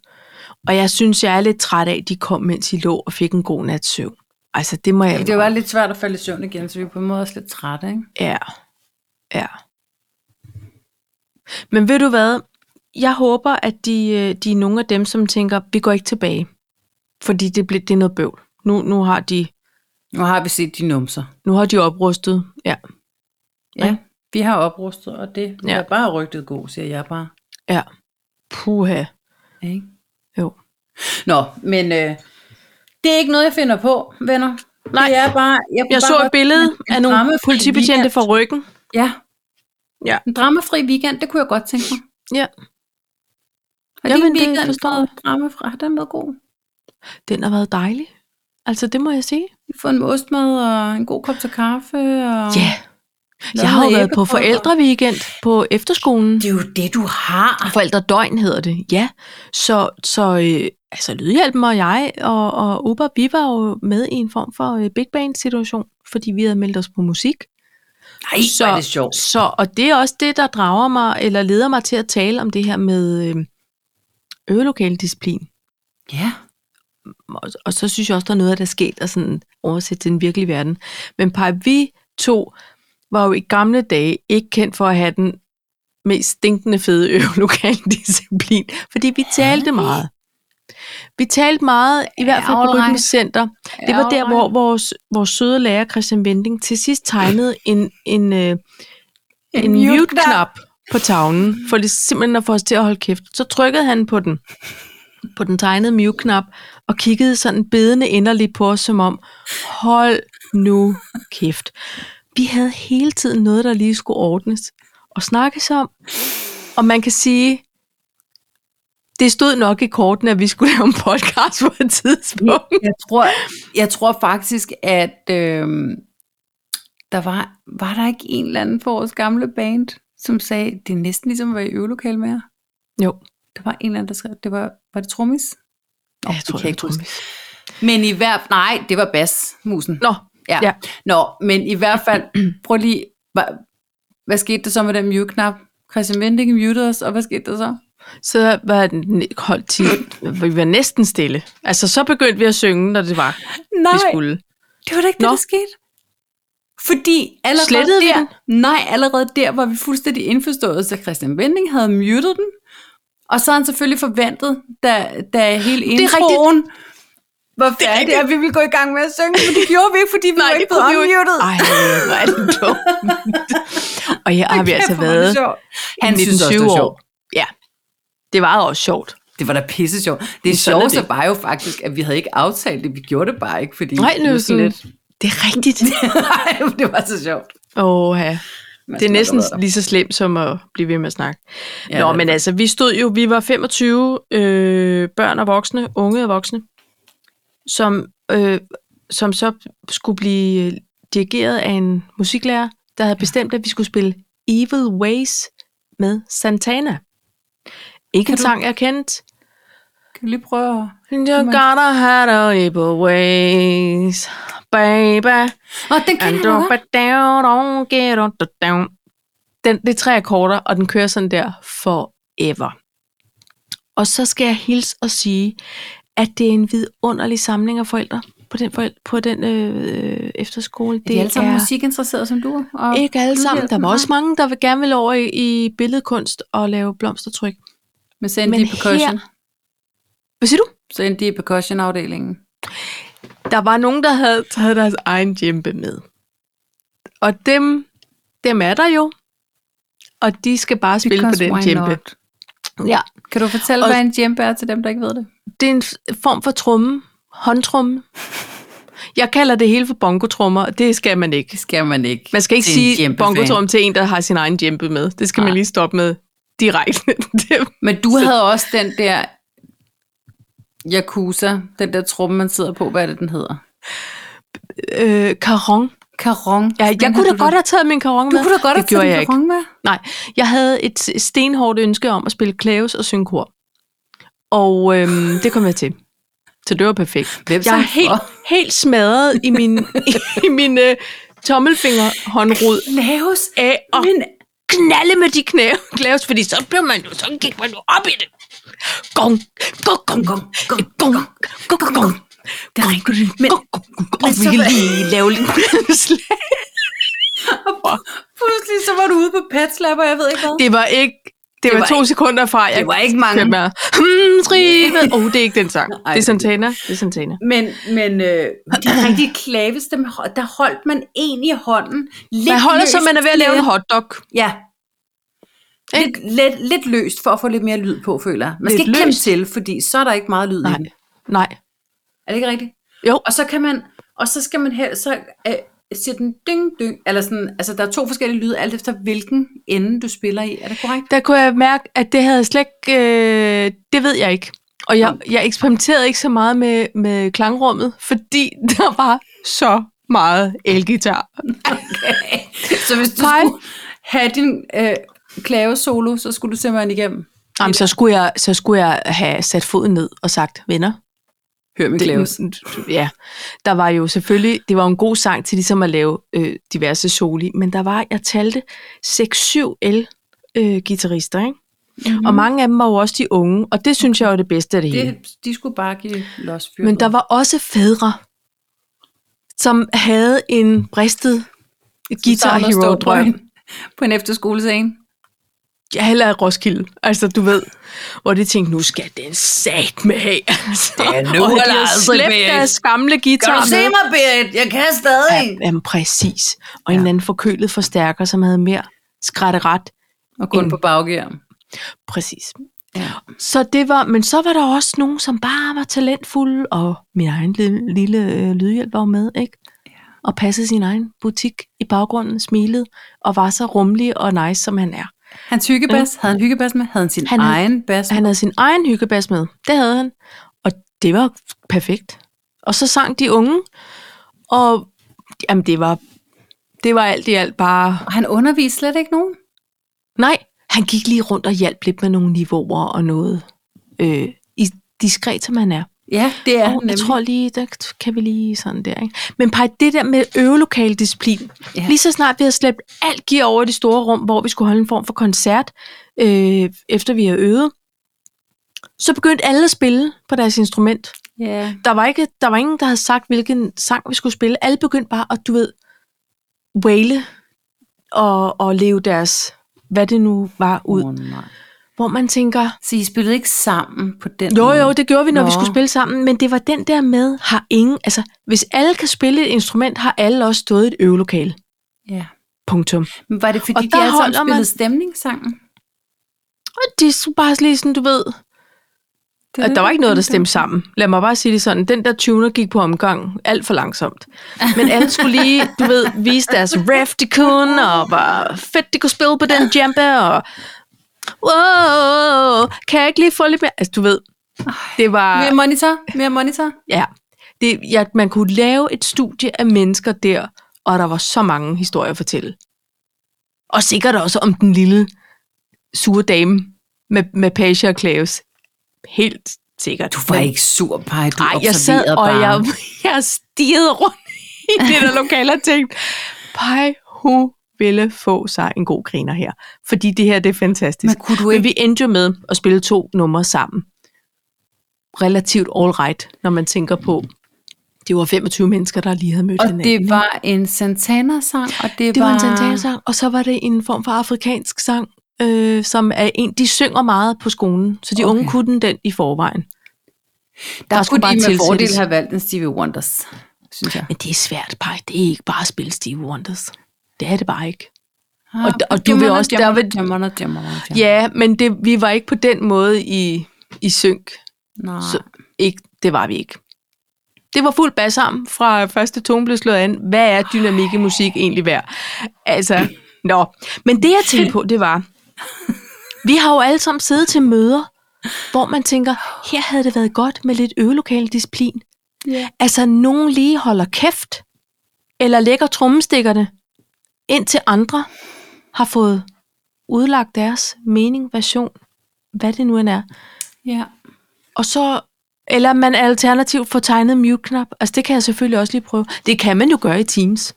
Speaker 2: Og jeg synes, jeg er lidt træt af, at de kom, mens de lå og fik en god nats søvn. Altså, det må jeg
Speaker 1: Det var lidt svært at falde i søvn igen, så vi er på en måde også lidt trætte, ikke?
Speaker 2: Ja, ja. Men ved du hvad? Jeg håber, at de, øh, de er nogle af dem, som tænker, vi går ikke tilbage, fordi det, blev, det er noget bøvl. Nu, nu, har de,
Speaker 1: Nu har vi set de numser.
Speaker 2: nu har de oprustet. Ja,
Speaker 1: Ja, vi har oprustet, og det
Speaker 2: Ja.
Speaker 1: ja. er bare rygtet god, siger jeg bare.
Speaker 2: ja. Puha.
Speaker 1: Ikke?
Speaker 2: Jo.
Speaker 1: Nå, men øh, det er ikke noget, jeg finder på, venner.
Speaker 2: Nej.
Speaker 1: det er bare, jeg, kunne
Speaker 2: Jeg
Speaker 1: bare
Speaker 2: så et
Speaker 1: godt-
Speaker 2: billede
Speaker 1: en
Speaker 2: af nogle
Speaker 1: drammefri
Speaker 2: politibetjente
Speaker 1: weekend.
Speaker 2: fra ryggen.
Speaker 1: Ja.
Speaker 2: Ja.
Speaker 1: En dramafri weekend, det kunne jeg godt tænke mig.
Speaker 2: Ja.
Speaker 1: Og
Speaker 2: Jamen,
Speaker 1: Jamen,
Speaker 2: det
Speaker 1: din weekend
Speaker 2: forstår
Speaker 1: fra dramafri, har Ah, den været god?
Speaker 2: Den har været dejlig. Altså, det må jeg sige.
Speaker 1: Vi får en ostmad og en god kop til kaffe. Og
Speaker 2: Ja. Jeg har jo været på forældreweekend på efterskolen.
Speaker 1: Det er jo det, du har.
Speaker 2: Forældredøgn hedder det, ja. Så, så øh, altså, Lydhjælpen og jeg og, og Uber og Bi var jo med i en form for øh, big band situation, fordi vi havde meldt os på musik.
Speaker 1: Nej, så er det sjovt.
Speaker 2: Så, og det er også det, der drager mig, eller leder mig til at tale om det her med øh, øvelokalendisciplin.
Speaker 1: Ja.
Speaker 2: Og, og så synes jeg også, der er noget, der er sket og sådan oversætte til den virkelige verden. Men Paj, vi to var jo i gamle dage ikke kendt for at have den mest stinkende fede øvelokalendisciplin, fordi vi talte meget. Vi talte meget, i hvert fald på
Speaker 1: Ærgerlig.
Speaker 2: Rytmecenter. Det var der, hvor vores, vores søde lærer Christian Vending til sidst tegnede en, en, øh, en, en mute-knap på tavlen, for det simpelthen at få os til at holde kæft. Så trykkede han på den, på den tegnede mute-knap, og kiggede sådan bedende inderligt på os, som om, hold nu kæft. Vi havde hele tiden noget, der lige skulle ordnes og snakkes om, og man kan sige, det stod nok i korten, at vi skulle lave en podcast på et tidspunkt.
Speaker 1: Jeg tror, jeg tror faktisk, at øh, der var, var der ikke en eller anden for vores gamle band, som sagde, det er næsten ligesom at være i øvelokale med jer.
Speaker 2: Jo,
Speaker 1: Der var en eller anden, der skrev, det var, var det trommis? Nå,
Speaker 2: jeg
Speaker 1: det
Speaker 2: tror,
Speaker 1: kan
Speaker 2: jeg
Speaker 1: ikke
Speaker 2: tror
Speaker 1: huske. Men i hvert nej, det var basmusen.
Speaker 2: Nå,
Speaker 1: Ja.
Speaker 2: Ja.
Speaker 1: ja. Nå, men i hvert fald, prøv lige, hvad, hvad skete der så med den mute-knap? Christian Vending mutede os, og hvad skete der så?
Speaker 2: så var den holdt til, vi var næsten stille. Altså, så begyndte vi at synge, når det var, vi skulle.
Speaker 1: det var da ikke det,
Speaker 2: Nå.
Speaker 1: der skete. Fordi allerede
Speaker 2: Slettede vi
Speaker 1: der, nej, allerede der var vi fuldstændig indforstået, så Christian Vending havde muted den. Og så havde han selvfølgelig forventet, da, da hele
Speaker 2: er rigtigt.
Speaker 1: introen var færdig,
Speaker 2: rigtigt.
Speaker 1: at vi ville gå i gang med at synge, men det gjorde vi ikke, fordi vi
Speaker 2: Nej,
Speaker 1: var
Speaker 2: det
Speaker 1: ikke
Speaker 2: kunne
Speaker 1: blevet
Speaker 2: vi jo ikke.
Speaker 1: unmuted.
Speaker 2: Ej, hvor er det dumt. Og her har vi altså været
Speaker 1: Han synes også, det
Speaker 2: 19-20
Speaker 1: var
Speaker 2: år.
Speaker 1: sjovt.
Speaker 2: Ja, det var også sjovt.
Speaker 1: Det var da pisse sjovt. Det
Speaker 2: Men sådan er
Speaker 1: sjoveste
Speaker 2: det.
Speaker 1: var jo faktisk, at vi havde ikke aftalt det. Vi gjorde det bare ikke, fordi...
Speaker 2: Nej, nu er
Speaker 1: var
Speaker 2: det
Speaker 1: sådan
Speaker 2: sådan lidt. Det er rigtigt.
Speaker 1: Nej, det var så sjovt.
Speaker 2: Åh, ja.
Speaker 1: Man
Speaker 2: Det er
Speaker 1: skulle
Speaker 2: næsten
Speaker 1: have været der.
Speaker 2: lige så slemt som at blive ved med at snakke.
Speaker 1: Ja,
Speaker 2: Ja, Nå,
Speaker 1: det er
Speaker 2: men altså, vi stod jo, vi var 25 øh, børn og voksne, unge og voksne, som, øh, som så skulle blive øh, dirigeret af en musiklærer, der havde bestemt, at vi skulle spille Evil Ways med Santana. Ikke
Speaker 1: Kan
Speaker 2: en
Speaker 1: du-
Speaker 2: sang, jeg kendte.
Speaker 1: Kan vi lige prøve at...
Speaker 2: You gotta have the evil ways, baby.
Speaker 1: Åh, den kan
Speaker 2: And
Speaker 1: jeg
Speaker 2: don't
Speaker 1: godt.
Speaker 2: back down, don't get on the down. Den, det er tre akkorder, og den kører sådan der forever. Og så skal jeg hilse og sige, at det er en vidunderlig samling af forældre på den, forældre, på den øh, efterskole.
Speaker 1: Det er alle sammen musikinteresserede som du. Og
Speaker 2: ikke alle sammen. Der var også mange, der vil gerne vil over i, i billedkunst og lave blomstertryk.
Speaker 1: Men så endte
Speaker 2: Men
Speaker 1: de i percussion.
Speaker 2: Hvad siger du?
Speaker 1: Så endte de i percussion-afdelingen.
Speaker 2: Der var nogen, der havde taget deres egen djembe med. Og dem, dem er der jo. Og de skal bare spille
Speaker 1: Because
Speaker 2: på
Speaker 1: why
Speaker 2: den djembe.
Speaker 1: not?
Speaker 2: Ja.
Speaker 1: Kan du fortælle,
Speaker 2: Og-
Speaker 1: hvad en djembe er til dem, der ikke ved det?
Speaker 2: Det er en f- form for tromme. Håndtromme. Jeg kalder det hele for bongotrommer, og det skal man ikke.
Speaker 1: Det skal man ikke.
Speaker 2: Man skal ikke
Speaker 1: til en
Speaker 2: sige
Speaker 1: djembefan.
Speaker 2: bongotromme til en, der har sin egen djempe med. Det skal man
Speaker 1: Nej.
Speaker 2: lige stoppe med direkte. Det-
Speaker 1: Men du havde også den der Yakuza, den der tromme, man sidder på. Hvad er det, den hedder?
Speaker 2: øh, karon.
Speaker 1: Karong.
Speaker 2: Ja, jeg
Speaker 1: Den
Speaker 2: kunne
Speaker 1: havde
Speaker 2: da godt have taget min karon med.
Speaker 1: Du kunne da godt have
Speaker 2: det
Speaker 1: taget
Speaker 2: gjorde
Speaker 1: din
Speaker 2: jeg ikke.
Speaker 1: karong med.
Speaker 2: Nej, jeg havde et stenhårdt ønske om at spille klaves og synkor. Og øhm, det kom jeg til. Så det var perfekt.
Speaker 1: Hvem
Speaker 2: jeg er
Speaker 1: sang
Speaker 2: helt,
Speaker 1: for?
Speaker 2: helt smadret i min, i, i min øh, tommelfingerhåndrod
Speaker 1: Laves.
Speaker 2: af at
Speaker 1: Men
Speaker 2: knalde med de knæ, klaves, fordi så blev man jo, så gik man jo op i det. Gong, gong, gong, gong, gong, gong, gong, gong, gong. Gong,
Speaker 1: Men-
Speaker 2: gong, gong, gong. Og
Speaker 1: men
Speaker 2: vi
Speaker 1: så
Speaker 2: kan
Speaker 1: var-
Speaker 2: lige lave lidt slag.
Speaker 1: pludselig så var du ude på patslap, og jeg ved ikke hvad.
Speaker 2: Det var ikke, det,
Speaker 1: Det
Speaker 2: var,
Speaker 1: var
Speaker 2: to
Speaker 1: ikke-
Speaker 2: sekunder fra, jeg
Speaker 1: det var ikke mange.
Speaker 2: Hvem er? Hmm, trive. Oh, det er ikke den sang. det er Santana. Det er Santana.
Speaker 1: Men, men øh, de rigtige klaves, dem, hold- der holdt man en i hånden. Lidt
Speaker 2: Man holder så,
Speaker 1: løst.
Speaker 2: man er ved at lave en hotdog.
Speaker 1: Ja. Lidt, lidt, lidt løst for at få lidt mere lyd på, føler jeg. Man
Speaker 2: Lidt
Speaker 1: skal ikke kæmpe
Speaker 2: løst.
Speaker 1: til, fordi så er der ikke meget lyd i
Speaker 2: Nej.
Speaker 1: den.
Speaker 2: Nej.
Speaker 1: Er det ikke rigtigt?
Speaker 2: Jo.
Speaker 1: Og så kan man, og så skal man have, så øh, siger den dyng, dyng, eller sådan, altså der er to forskellige lyde, alt efter hvilken ende du spiller i. Er det korrekt?
Speaker 2: Der kunne jeg mærke, at det havde jeg slet ikke... Øh, det ved jeg ikke. Og jeg, jeg eksperimenterede ikke så meget med, med klangrummet, fordi der var så meget elgitar.
Speaker 1: Okay. så hvis du
Speaker 2: Pej.
Speaker 1: skulle have din øh, klave solo, så skulle du simpelthen igennem.
Speaker 2: Jamen, så skulle, jeg, så skulle jeg have sat foden ned og sagt, venner,
Speaker 1: Hør min klaves.
Speaker 2: Det, ja, der var jo selvfølgelig, det var jo en god sang til ligesom at lave øh, diverse soli, men der var, jeg talte 6-7 el-gitarrister, øh, ikke? Mm. Og mange af dem var jo også de unge, og det synes jeg var det bedste af det, hele.
Speaker 1: Det, de skulle bare give los fyret.
Speaker 2: Men der var også fædre, som havde en bristet Guitar
Speaker 1: Savner at stå på
Speaker 2: Hero-drøm.
Speaker 1: en- På en efterskolescene.
Speaker 2: Jeg heller Roskilde, altså du ved. Hvor de tænkte, nu skal den sat med af. Altså,
Speaker 1: Ja, nu
Speaker 2: og de
Speaker 1: eller
Speaker 2: har
Speaker 1: aldrig,
Speaker 2: slæbt
Speaker 1: Berit.
Speaker 2: deres gamle guitar med.
Speaker 1: mig, Berit? Jeg kan stadig.
Speaker 2: Jamen præcis. Og ja. en eller anden forkølet forstærker, som havde mere skrætteret.
Speaker 1: Og kun på baggear.
Speaker 2: Præcis.
Speaker 1: Ja.
Speaker 2: Så det var, men så var der også nogen, som bare var talentfulde, og min egen lille, lille øh, lydhjælp var jo med, ikke? Og passede sin egen butik i baggrunden, smilede, og var så rummelig og nice, som han er.
Speaker 1: Han hyggebas. Havde han hyggebas med? Havde han sin
Speaker 2: Han havde-
Speaker 1: egen bas?
Speaker 2: Han havde sin egen hyggebas med. Det havde han. Og det var perfekt. Og så sang de unge, og jamen, det var, det var alt i alt bare
Speaker 1: Og han underviste slet ikke nogen.
Speaker 2: Nej, han gik lige rundt og hjalp lidt med nogle niveauer og noget. Øh, i, diskret som han er.
Speaker 1: Ja, det er
Speaker 2: Ja,
Speaker 1: han
Speaker 2: oh, jeg
Speaker 1: nemlig.
Speaker 2: tror lige, der kan vi lige sådan der. Ikke? Men pej, det der med øvelokale disciplin.
Speaker 1: Ja.
Speaker 2: Ja. Lige så snart vi havde slæbt alt gear over i det store rum, hvor vi skulle holde en form for koncert, øh, efter vi havde øvet, så begyndte alle at spille på deres instrument.
Speaker 1: Ja.
Speaker 2: Der var, ikke, der var ingen, der havde sagt, hvilken sang vi skulle spille. Alle begyndte bare at, du ved, waile og, og leve deres, hvad det nu var, ud
Speaker 1: Åh, nej.
Speaker 2: hvor man tænker,
Speaker 1: Så I spillede ikke sammen på den
Speaker 2: jo
Speaker 1: måde?
Speaker 2: jo, det gjorde vi, når Nå.
Speaker 1: Mm. Nå.
Speaker 2: vi skulle spille sammen, men det var den der med, har ingen, altså hvis alle kan spille et instrument, har alle også stået i et øvelokale.
Speaker 1: Ja.
Speaker 2: Punktum.
Speaker 1: Men var det fordi,
Speaker 2: Og
Speaker 1: de
Speaker 2: der
Speaker 1: alle sammen
Speaker 2: holder man-
Speaker 1: spillede stemningssangen?
Speaker 2: Og det skulle bare lige sådan, du ved, at
Speaker 1: Mm-hmm.
Speaker 2: der var ikke noget, der stemte sammen. Lad mig bare sige det sådan, den der tuner gik på omgang alt for langsomt. Men alle skulle lige, du ved, vise deres ref, de kunne, og hvor fedt de kunne spille på den jambe, og wow, kan jeg ikke lige få lidt mere, altså du ved, det var...
Speaker 1: Mere monitor? Mere monitor?
Speaker 2: Ja, det, ja, man kunne lave et studie af mennesker der, og der var så mange historier at fortælle. Og sikkert også om den lille sure dame med, med Page og Klaus. Helt sikkert.
Speaker 1: Du var ikke sur, Paj. Du
Speaker 2: Nej, jeg sad,
Speaker 1: observerede
Speaker 2: og
Speaker 1: bare.
Speaker 2: jeg, jeg stirrede rundt i det der lokale og tænkte, Pej, hun ville få sig en god griner her. Fordi det her, det er fantastisk.
Speaker 1: Men kunne du
Speaker 2: Men
Speaker 1: ikke...
Speaker 2: vi endte jo med at spille to numre sammen. Relativt all right, når man tænker på, det var 25 mennesker, der lige havde mødt
Speaker 1: Og
Speaker 2: hinanden.
Speaker 1: det var en Santana-sang, og det,
Speaker 2: det var
Speaker 1: var
Speaker 2: en santana-sang, og så var det en form for afrikansk sang, øh, som er en, de synger meget på skolen, så de
Speaker 1: Okay.
Speaker 2: okay. unge kunne den, den i forvejen.
Speaker 1: Der,
Speaker 2: Der
Speaker 1: skulle
Speaker 2: skulle
Speaker 1: de
Speaker 2: bare
Speaker 1: med
Speaker 2: tilsættes.
Speaker 1: fordel have valgt en Stevie Wonders, synes jeg.
Speaker 2: Men det er svært, Paj. Det er ikke bare at spille Steve Wonders. Det er det bare ikke.
Speaker 1: Ah,
Speaker 2: og du vil
Speaker 1: jammerne,
Speaker 2: også- der
Speaker 1: jammerne,
Speaker 2: vil-
Speaker 1: jammerne, jammerne, jammerne.
Speaker 2: Ja, men det, vi var ikke på den måde i, i synk.
Speaker 1: Nej.
Speaker 2: Så ikke, det var vi ikke. Det var fuld bassarm fra første tone blev slået an. Hvad er dynamik i musik egentlig værd? Altså, nå. Men det jeg tænkte på, det var, vi har jo alle sammen siddet til møder, hvor man tænker, her havde det været godt med lidt øvelokale disciplin.
Speaker 1: Ja.
Speaker 2: Altså, nogen lige holder kæft, eller lægger trommestikkerne, indtil andre har fået udlagt deres mening, version, hvad det nu end er.
Speaker 1: ja.
Speaker 2: Og så, eller man alternativt får tegnet mute-knap. Altså det kan jeg selvfølgelig også lige prøve. Det kan man jo gøre i Teams.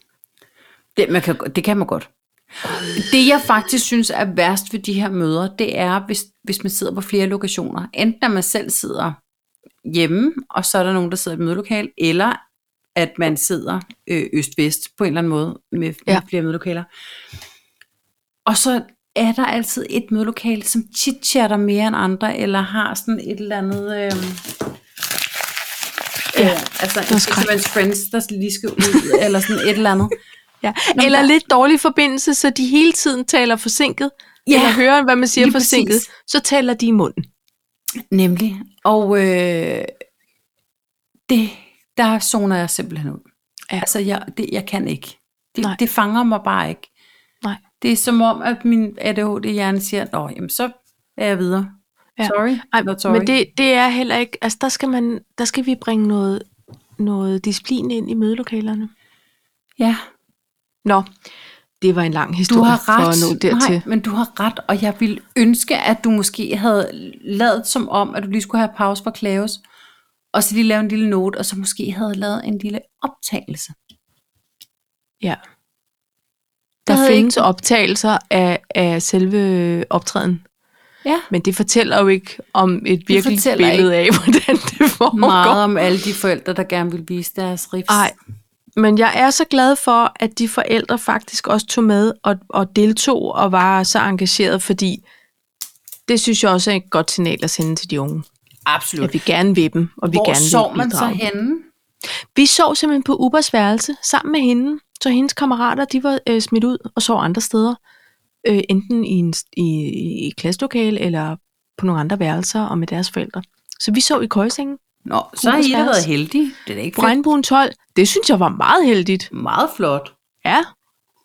Speaker 1: Det, man kan, det kan man godt. Det, jeg faktisk synes er værst ved de her møder, det er, hvis, hvis man sidder på flere lokationer. Enten at man selv sidder hjemme, og så er der nogen, der sidder i et mødelokal, eller at man sidder øh, øst-vest på en eller anden måde med, ja. med
Speaker 2: Ja.
Speaker 1: flere mødelokaler. Og så er der altid et mødelokale, som chitchatter mere end andre, eller har sådan et eller andet... Øh, Ja, altså, det er
Speaker 2: skræk.
Speaker 1: simpelthen friends, der lige skal ud, eller sådan et eller andet.
Speaker 2: Ja. Eller lidt dårlig forbindelse, så de hele tiden taler forsinket,
Speaker 1: Ja,
Speaker 2: eller hører, hvad man siger
Speaker 1: lige
Speaker 2: forsinket,
Speaker 1: præcis.
Speaker 2: så taler de i munden.
Speaker 1: Nemlig. Og øh, det, der zoner jeg simpelthen ud.
Speaker 2: Ja.
Speaker 1: Altså, jeg, det, jeg kan ikke. Det,
Speaker 2: Nej.
Speaker 1: det fanger mig bare ikke.
Speaker 2: Nej.
Speaker 1: Det er som om, at min ADHD-hjerne siger, Nå, jamen, så er jeg videre.
Speaker 2: Ja.
Speaker 1: Sorry,
Speaker 2: Ej,
Speaker 1: not sorry.
Speaker 2: men det, det er heller ikke, altså der skal, man, der skal vi bringe noget, noget disciplin ind i mødelokalerne.
Speaker 1: ja,
Speaker 2: Nå, det var en lang
Speaker 1: du
Speaker 2: historie
Speaker 1: har
Speaker 2: for at nå
Speaker 1: ret.
Speaker 2: dertil.
Speaker 1: Nej, men du har ret, og jeg ville ønske, at du måske havde lavet som om, at du lige skulle have pause for Klaus, og så lige lave en lille note, og så måske havde lavet en lille optagelse.
Speaker 2: Ja.
Speaker 1: Der
Speaker 2: Der
Speaker 1: havde
Speaker 2: findes
Speaker 1: ikke-
Speaker 2: ikke... optagelser af, af selve optræden,
Speaker 1: Ja.
Speaker 2: men det fortæller jo ikke om et virkeligt
Speaker 1: fortæller
Speaker 2: billede af, hvordan det foregår.
Speaker 1: meget om alle de forældre, der gerne vil vise deres riffs.
Speaker 2: Nej, men jeg er så glad for, at de forældre faktisk også tog med og, og deltog og var så engageret, fordi det synes jeg også er et godt signal at sende til de unge.
Speaker 1: absolut.
Speaker 2: At vi gerne vil dem, og vi
Speaker 1: Hvor
Speaker 2: gerne vil
Speaker 1: sov man så
Speaker 2: bidrage.
Speaker 1: henne?
Speaker 2: Vi sov simpelthen på Ubers værelse sammen med hende, så hendes kammerater de var øh, smidt ud og sov andre steder. Øh, enten i, en, i, i et klasselokale eller på nogle andre værelser og med deres forældre. Så vi sov i køjsengen.
Speaker 1: Nå, så har I da
Speaker 2: Ubers
Speaker 1: været
Speaker 2: værelse.
Speaker 1: heldige. Det er da ikke
Speaker 2: På
Speaker 1: fedt.
Speaker 2: Regnbuen 12, det synes jeg var meget heldigt.
Speaker 1: Meget flot.
Speaker 2: Ja,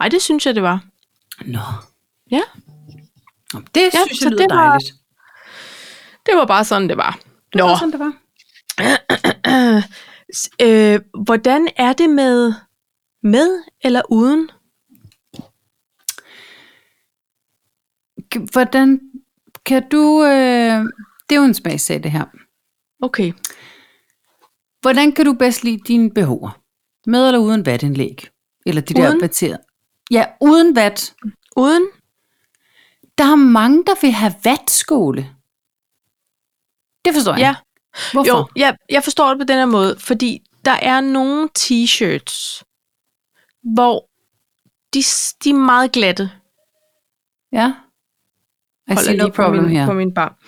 Speaker 2: ej, det synes jeg, det var.
Speaker 1: Nå.
Speaker 2: Ja.
Speaker 1: Nå, det ja,
Speaker 2: Ja,
Speaker 1: synes
Speaker 2: så
Speaker 1: jeg lyder
Speaker 2: det var-
Speaker 1: dejligt.
Speaker 2: Det var bare sådan, det var.
Speaker 1: Det
Speaker 2: Nå,
Speaker 1: var sådan, det var.
Speaker 2: S- øh, hvordan er det med med eller uden?
Speaker 1: K- Hvordan kan du... Øh, det er jo en smagsag, det her.
Speaker 2: Okay,
Speaker 1: Hvordan kan du bedst lide dine behov? Med eller uden vatindlæg? Eller de der
Speaker 2: Uden?
Speaker 1: batterier? Ja, uden vat.
Speaker 2: uden?
Speaker 1: Der er mange, der vil have vatskåle. Det forstår jeg.
Speaker 2: Ja.
Speaker 1: ikke. Hvorfor?
Speaker 2: Jo, jeg, jeg forstår det på den her måde, fordi der er nogle t-shirts, hvor de, s- de er meget glatte.
Speaker 1: Ja. I
Speaker 2: Holder
Speaker 1: see no
Speaker 2: lige på
Speaker 1: problem
Speaker 2: min,
Speaker 1: her.
Speaker 2: På min bar.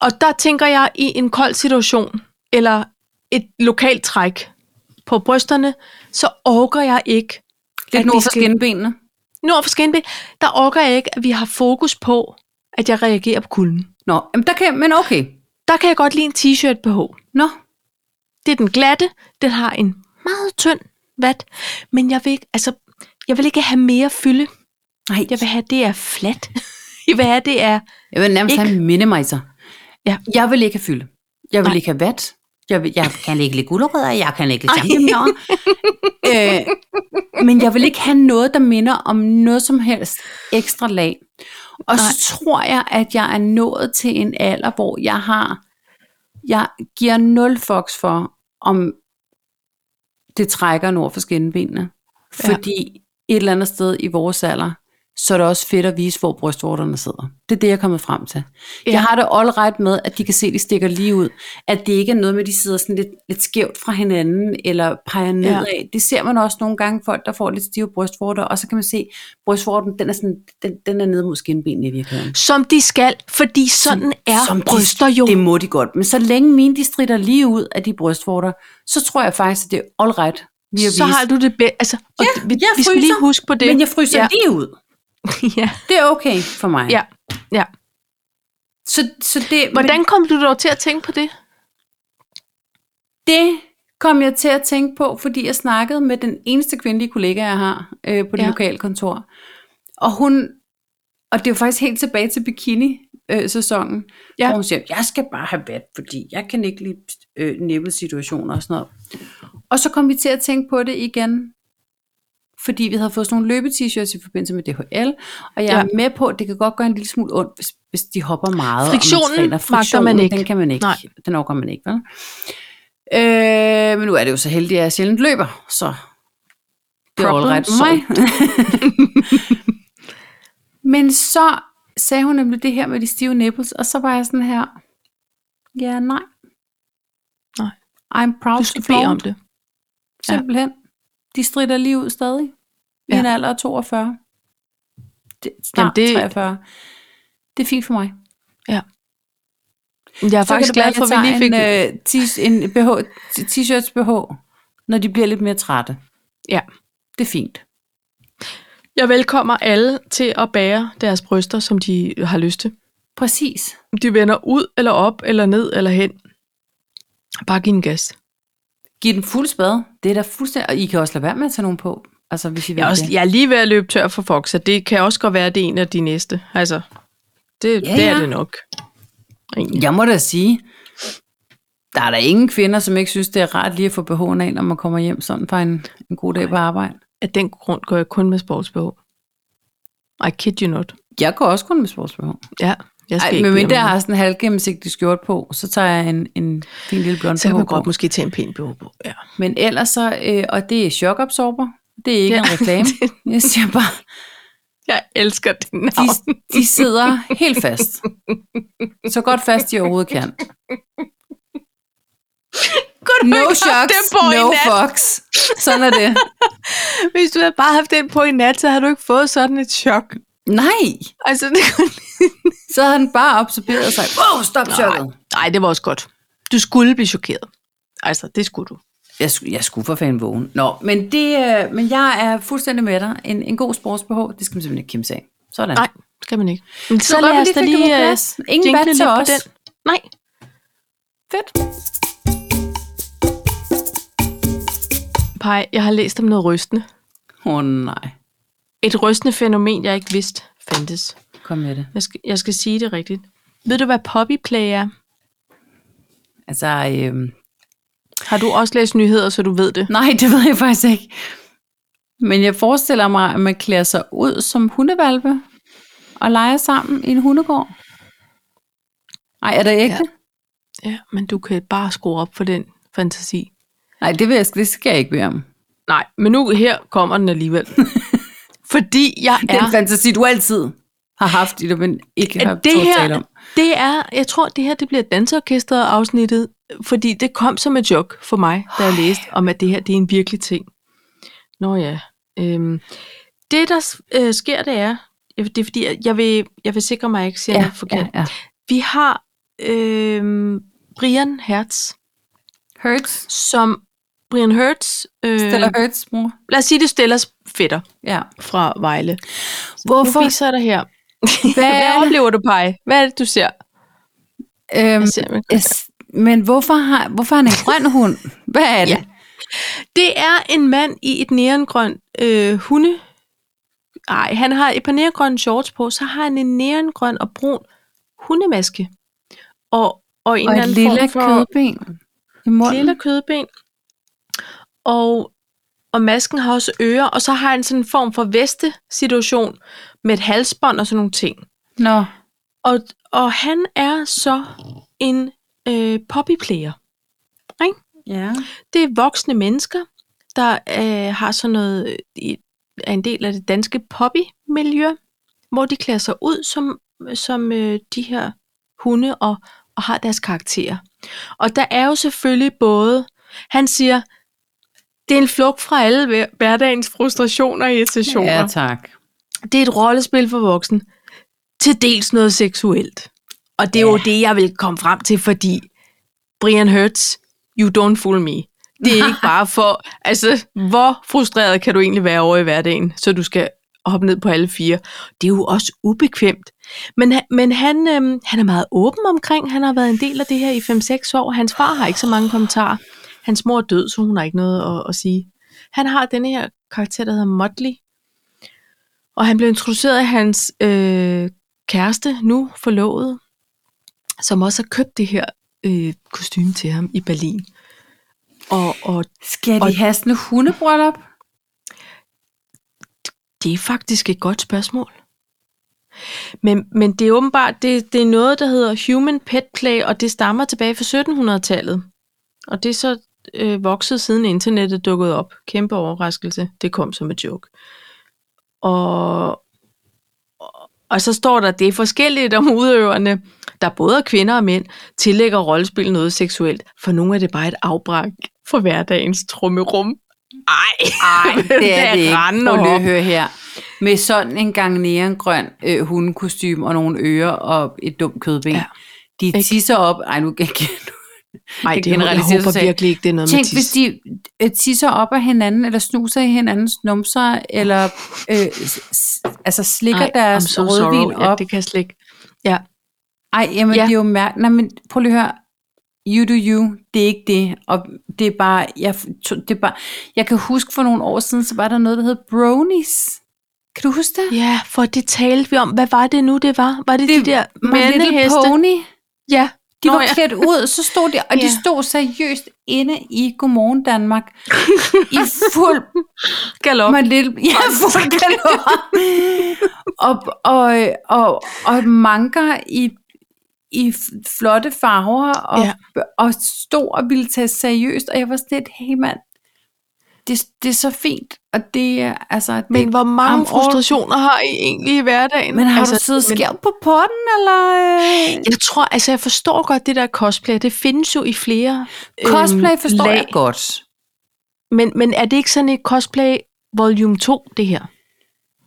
Speaker 2: Og der tænker jeg i en kold situation, eller et lokalt træk på brysterne, så orker jeg ikke, at
Speaker 1: Lidt
Speaker 2: vi
Speaker 1: nord for
Speaker 2: skal-
Speaker 1: skinbenene.
Speaker 2: nord for skinben, der orker jeg ikke, at vi har fokus på, at jeg reagerer på kulden.
Speaker 1: Nå, jamen der kan, men okay.
Speaker 2: Der kan jeg godt lide en t-shirt behov.
Speaker 1: Nå,
Speaker 2: Det er den glatte, den har en meget tynd vat, men jeg vil ikke, altså, jeg vil ikke have mere fylde.
Speaker 1: nej.
Speaker 2: Jeg vil have, det er fladt. Jeg vil have, det er...
Speaker 1: Jeg vil nærmest
Speaker 2: Ikke-
Speaker 1: have en minimizer.
Speaker 2: Ja.
Speaker 1: Jeg vil ikke have fylde. Jeg vil
Speaker 2: Nej.
Speaker 1: ikke have vat. Jeg, vil, jeg kan ikke lide gulerødder, jeg kan ikke lide
Speaker 2: Ej.
Speaker 1: champignoner. øh, men jeg vil ikke have noget, der minder om noget som helst ekstra lag. Og Nej. så tror jeg, at jeg er nået til en alder, hvor jeg har, jeg giver nul fox for, om det trækker nord for skinnebenene.
Speaker 2: Ja.
Speaker 1: Fordi et eller andet sted i vores alder, så er det også fedt at vise, hvor brystvorterne sidder. Det er det, jeg er kommet frem til. Ja.
Speaker 2: Ja.
Speaker 1: Jeg har det all right med, at de kan se, at de stikker lige ud. At det ikke er noget med, at de sidder sådan lidt, lidt skævt fra hinanden, eller peger nedad. Ja. Det ser man også nogle gange, folk der får lidt stive brystvorter, og så kan man se, at brystvorten den er, sådan, den, den er nede mod skinbenene i virkeligheden.
Speaker 2: Som de skal, fordi sådan er
Speaker 1: Som de-
Speaker 2: bryster jo.
Speaker 1: Det må de godt. Men så længe mine de strider lige ud af de brystvorter, så tror jeg faktisk, at det er all right lige at
Speaker 2: så
Speaker 1: vise.
Speaker 2: har du det bedst. Altså, og
Speaker 1: Ja,
Speaker 2: det- vi,
Speaker 1: jeg
Speaker 2: vi skal lige
Speaker 1: fryser,
Speaker 2: huske på det.
Speaker 1: Men jeg fryser ja.
Speaker 2: ja.
Speaker 1: lige ud.
Speaker 2: ja.
Speaker 1: Det er okay for mig.
Speaker 2: Ja, ja.
Speaker 1: Så, så det,
Speaker 2: Hvordan kom du dog til at tænke på det?
Speaker 1: Det kom jeg til at tænke på, fordi jeg snakkede med den eneste kvindelige kollega, jeg har øh, på det ja.
Speaker 2: Ja.
Speaker 1: lokale kontor. Og hun, og det er jo faktisk helt tilbage til bikini-sæsonen, ja.
Speaker 2: Ja.
Speaker 1: hvor hun siger, jeg skal bare have vat, fordi jeg kan ikke lide øh, nippelsituationer og sådan noget. Og så kom vi til at tænke på det igen, fordi vi havde fået sådan nogle løbe-t-shirts i forbindelse med DHL, og jeg ja.
Speaker 2: Ja.
Speaker 1: er med på, at det kan godt gøre en lille smule ondt, hvis, hvis de hopper meget. og man
Speaker 2: Friktionen
Speaker 1: træner.
Speaker 2: magter man ikke.
Speaker 1: Den kan man ikke.
Speaker 2: Nej.
Speaker 1: Den overgår man ikke, vel? Øh, men nu er det jo så heldigt, at jeg sjældent løber, så det er all
Speaker 2: Problem
Speaker 1: right for mig. men så sagde hun nemlig det her med de stive nipples, og så var jeg sådan her, ja, nej.
Speaker 2: Nej.
Speaker 1: I'm proud to
Speaker 2: Du skal bede om det. Ja.
Speaker 1: Simpelthen. De strider lige ud stadig. I
Speaker 2: Ja.
Speaker 1: en alder af 42. Det,
Speaker 2: Jamen,
Speaker 1: snart det...
Speaker 2: det-
Speaker 1: 43. Det er fint for mig.
Speaker 2: Jeg er faktisk glad for, at vi lige fik...
Speaker 1: en, øh, tis- en BH, t- t-shirts BH, når de bliver lidt mere trætte.
Speaker 2: Ja.
Speaker 1: Det er fint.
Speaker 2: Jeg velkommer alle til at bære deres bryster, som de har lyst til.
Speaker 1: Præcis.
Speaker 2: De vender ud, eller op, eller ned, eller hen. Bare giv en gas.
Speaker 1: Giv den fuld spade. Det er da fuldstændig... Og I kan også lade være med at tage nogen på. Altså, hvis I vil
Speaker 2: Jeg er, også,
Speaker 1: det.
Speaker 2: jeg er lige ved at løbe tør for Fox, så det kan også godt være, at det er en af de næste. Altså, det,
Speaker 1: Ja,
Speaker 2: ja, det er
Speaker 1: ja.
Speaker 2: det nok. Egentlig.
Speaker 1: Jeg må da sige, der er der ingen kvinder, som ikke synes, det er rart lige at få BH'en af, når man kommer hjem sådan fra en, en god dag på arbejde.
Speaker 2: Af den grund går jeg kun med sportsbehov. I kid you not.
Speaker 1: Jeg går også kun med sports BH.
Speaker 2: Ja, jeg skal
Speaker 1: Ej,
Speaker 2: ikke
Speaker 1: men mindre
Speaker 2: mere
Speaker 1: jeg har sådan en halvgennemsigtig skjort på, så tager jeg en, en fin lille blond
Speaker 2: Så kan
Speaker 1: BH
Speaker 2: man
Speaker 1: på.
Speaker 2: godt måske tage en pæn BH på. Ja.
Speaker 1: Men ellers så, øh, og det er chokabsorber. Det er ikke
Speaker 2: Ja.
Speaker 1: ja. en reklame. Jeg siger bare,
Speaker 2: Jeg elsker det navn.
Speaker 1: de, de sidder helt fast. Så godt fast, de overhovedet kan.
Speaker 2: Kunne du
Speaker 1: No
Speaker 2: ikke have haft
Speaker 1: shocks,
Speaker 2: den på i
Speaker 1: no
Speaker 2: nat?
Speaker 1: fucks. Sådan er det.
Speaker 2: Hvis du havde bare haft den på i nat, så havde du ikke fået sådan et chok.
Speaker 1: Nej,
Speaker 2: Altså, det kunne...
Speaker 1: så havde han bare absorberet sig.
Speaker 2: oh,
Speaker 1: Wow, stop chokket.
Speaker 2: Nej, det var også godt. Du skulle blive chokeret. Altså, det skulle du.
Speaker 1: Jeg, sk- jeg skulle for fanden vågen. Nå, men, det, øh, men jeg er fuldstændig med dig. En, en god sportsbehov, det skal man simpelthen ikke kæmpe sig af. Sådan.
Speaker 2: Nej, skal man ikke. Men så,
Speaker 1: Så godt,
Speaker 2: lad
Speaker 1: vi
Speaker 2: os
Speaker 1: lige
Speaker 2: da
Speaker 1: fik det
Speaker 2: lige
Speaker 1: på
Speaker 2: øh,
Speaker 1: plads. Ingen
Speaker 2: jingle
Speaker 1: bad til
Speaker 2: lidt
Speaker 1: os.
Speaker 2: på Nej,
Speaker 1: fedt.
Speaker 2: Pej, jeg har læst om noget rystende.
Speaker 1: Åh oh, nej,
Speaker 2: Et rystende fænomen, jeg ikke vidste fandtes.
Speaker 1: kom med det.
Speaker 2: Jeg skal, jeg skal sige det rigtigt. Ved du, hvad poppyplay er?
Speaker 1: Altså, øh,
Speaker 2: Har du også læst nyheder, så du ved det?
Speaker 1: nej, det ved jeg faktisk ikke. Men jeg forestiller mig, at man klæder sig ud som hundevalpe og leger sammen i en hundegård. Nej, er det ægte? Ja.
Speaker 2: Ja, men du kan bare skrue op for den fantasi.
Speaker 1: Nej, det, vil jeg, det skal jeg ikke bede om.
Speaker 2: Nej, men nu her kommer den alligevel. Fordi jeg
Speaker 1: Ja. Den
Speaker 2: er...
Speaker 1: fantasi, du altid har haft, i det, men ikke har
Speaker 2: at det
Speaker 1: turde tale
Speaker 2: her,
Speaker 1: om.
Speaker 2: det er, jeg tror, det her det bliver dansorkestret afsnittet, fordi det kom som et joke for mig, da jeg læste om, at det her det er en virkelig ting. Nå ja. Øhm, det, der s- øh, sker, det er, det er fordi, at jeg vil, jeg vil sikre mig, at jeg ikke siger ja, noget forkert. Ja.
Speaker 1: ja.
Speaker 2: Vi har øhm, Brian Hertz,
Speaker 1: Hurts.
Speaker 2: som Brian Hertz, øh,
Speaker 1: Stella Hurts, mor.
Speaker 2: lad os sige, det er Stellas fætter
Speaker 1: Ja.
Speaker 2: fra Vejle.
Speaker 1: Hvorfor?
Speaker 2: Nu viser jeg dig her. Hvad,
Speaker 1: Hvad-
Speaker 2: Hvad oplever du, Paj? Hvad er det, du ser?
Speaker 1: Øhm,
Speaker 2: Jeg ser man-
Speaker 1: yes. Men hvorfor har, hvorfor har han en grøn hund? Hvad er det?
Speaker 2: Ja. Det er en mand i et neongrønt øh, hunde. Nej, han har et par neongrønne shorts på, så har han en neongrøn og brun hundemaske. Og, og en
Speaker 1: Og
Speaker 2: eller
Speaker 1: et
Speaker 2: anden
Speaker 1: lille
Speaker 2: form for
Speaker 1: kødben i munden.
Speaker 2: lille kødben. Og, og masken har også ører, og så har han sådan en form for veste-situation med et halsbånd og sådan nogle ting.
Speaker 1: Nå,
Speaker 2: Og, og han er så en øh, poppyplayer.
Speaker 1: ja.
Speaker 2: Det er voksne mennesker, der øh, har sådan noget, øh, i, er en del af det danske poppy-miljø, hvor de klæder sig ud som, som øh, de her hunde og, og har deres karakterer. Og der er jo selvfølgelig både, han siger, det er en flugt fra alle hver- hverdagens frustrationer og irritationer.
Speaker 1: ja tak.
Speaker 2: Det er et rollespil for voksen. Til dels noget seksuelt. Og det er ja. jo
Speaker 1: Ja.
Speaker 2: det, jeg vil komme frem til, fordi Brian Hertz, you don't fool me. Det er ikke bare for, altså, hvor frustreret kan du egentlig være over i hverdagen, så du skal hoppe ned på alle fire. Det er jo også ubekvemt. Men, han- men han, øhm, han er meget åben omkring, han har været en del af det her i 5-6 år. Hans far har ikke så mange kommentarer. Hans mor er død, så hun har ikke noget at, at sige. Han har denne her karakter, der hedder Motley, og han blev introduceret af hans øh, kæreste, nu forlovede, som også har købt det her øh, kostume til ham i Berlin. Og, og
Speaker 1: Skal
Speaker 2: Og-
Speaker 1: de have sådan en hundebryllup?
Speaker 2: det er faktisk et godt spørgsmål. Men, men det er åbenbart, det, det er noget, der hedder human pet play, og det stammer tilbage fra 1700-tallet. Og det er så øh, vokset siden internettet dukkede op. Kæmpe overraskelse. Det kom som et joke. Og, og- og så står der, det er forskelligt om udøverne, der både er kvinder og mænd, tillægger rollespil noget seksuelt. For nogle er det bare et afbræk for hverdagens trummerum. Ej,
Speaker 1: Nej, det er det ikke.
Speaker 2: rende
Speaker 1: Prøv lige
Speaker 2: op.
Speaker 1: at høre her. Med sådan en gang neongrøn øh, hundekostyme og nogle ører og et dumt kødben.
Speaker 2: Ja.
Speaker 1: Ja. De tisser op. Ej, nu kan jeg
Speaker 2: Nej,
Speaker 1: Jeg
Speaker 2: det er, jeg
Speaker 1: generaliserer
Speaker 2: håber
Speaker 1: totalt.
Speaker 2: virkelig ikke, det er noget
Speaker 1: Tænk,
Speaker 2: med tis.
Speaker 1: hvis de, øh, tisser op af hinanden, eller snuser i hinandens numser, eller øh, s- s- altså slikker Ej, deres
Speaker 2: I'm so
Speaker 1: rødvin
Speaker 2: sorry. Ja,
Speaker 1: op.
Speaker 2: det kan jeg slet ikke. Ja,
Speaker 1: Ej, jamen ja.
Speaker 2: Ja.
Speaker 1: det er jo mærkeligt. Nej, men prøv lige at høre. You do you, det er ikke det. Og det er bare, jeg, to- det er bare, jeg kan huske for nogle år siden, så var der noget, der hed bronies. Kan du huske det?
Speaker 2: ja for det talte vi om. Hvad var det nu, det var? Var
Speaker 1: Det-
Speaker 2: det, det de der
Speaker 1: My Little
Speaker 2: mandeheste?
Speaker 1: Pony.
Speaker 2: Ja.
Speaker 1: De
Speaker 2: Nå,
Speaker 1: var
Speaker 2: ja.
Speaker 1: klædt ud, så stod de, og de
Speaker 2: Ja.
Speaker 1: stod seriøst inde i Godmorgen Danmark. I fuld
Speaker 2: Galop.
Speaker 1: My Little... Ja, fuld galore. og, og, og, og manker i, i flotte farver, og,
Speaker 2: Ja.
Speaker 1: og stod og ville tage seriøst, og jeg var sådan lidt, hey mand, det, det er så fint, og det er altså... Det,
Speaker 2: Men hvor mange
Speaker 1: I'm all-
Speaker 2: frustrationer har I egentlig i hverdagen?
Speaker 1: men har altså, du siddet
Speaker 2: men-
Speaker 1: skævt på potten, eller... øh?
Speaker 2: Jeg tror, altså jeg forstår godt det der cosplay. Det findes jo i flere øhm,
Speaker 1: Cosplay forstår
Speaker 2: lag.
Speaker 1: jeg godt.
Speaker 2: Men, men er det ikke sådan et cosplay volume 2, det her?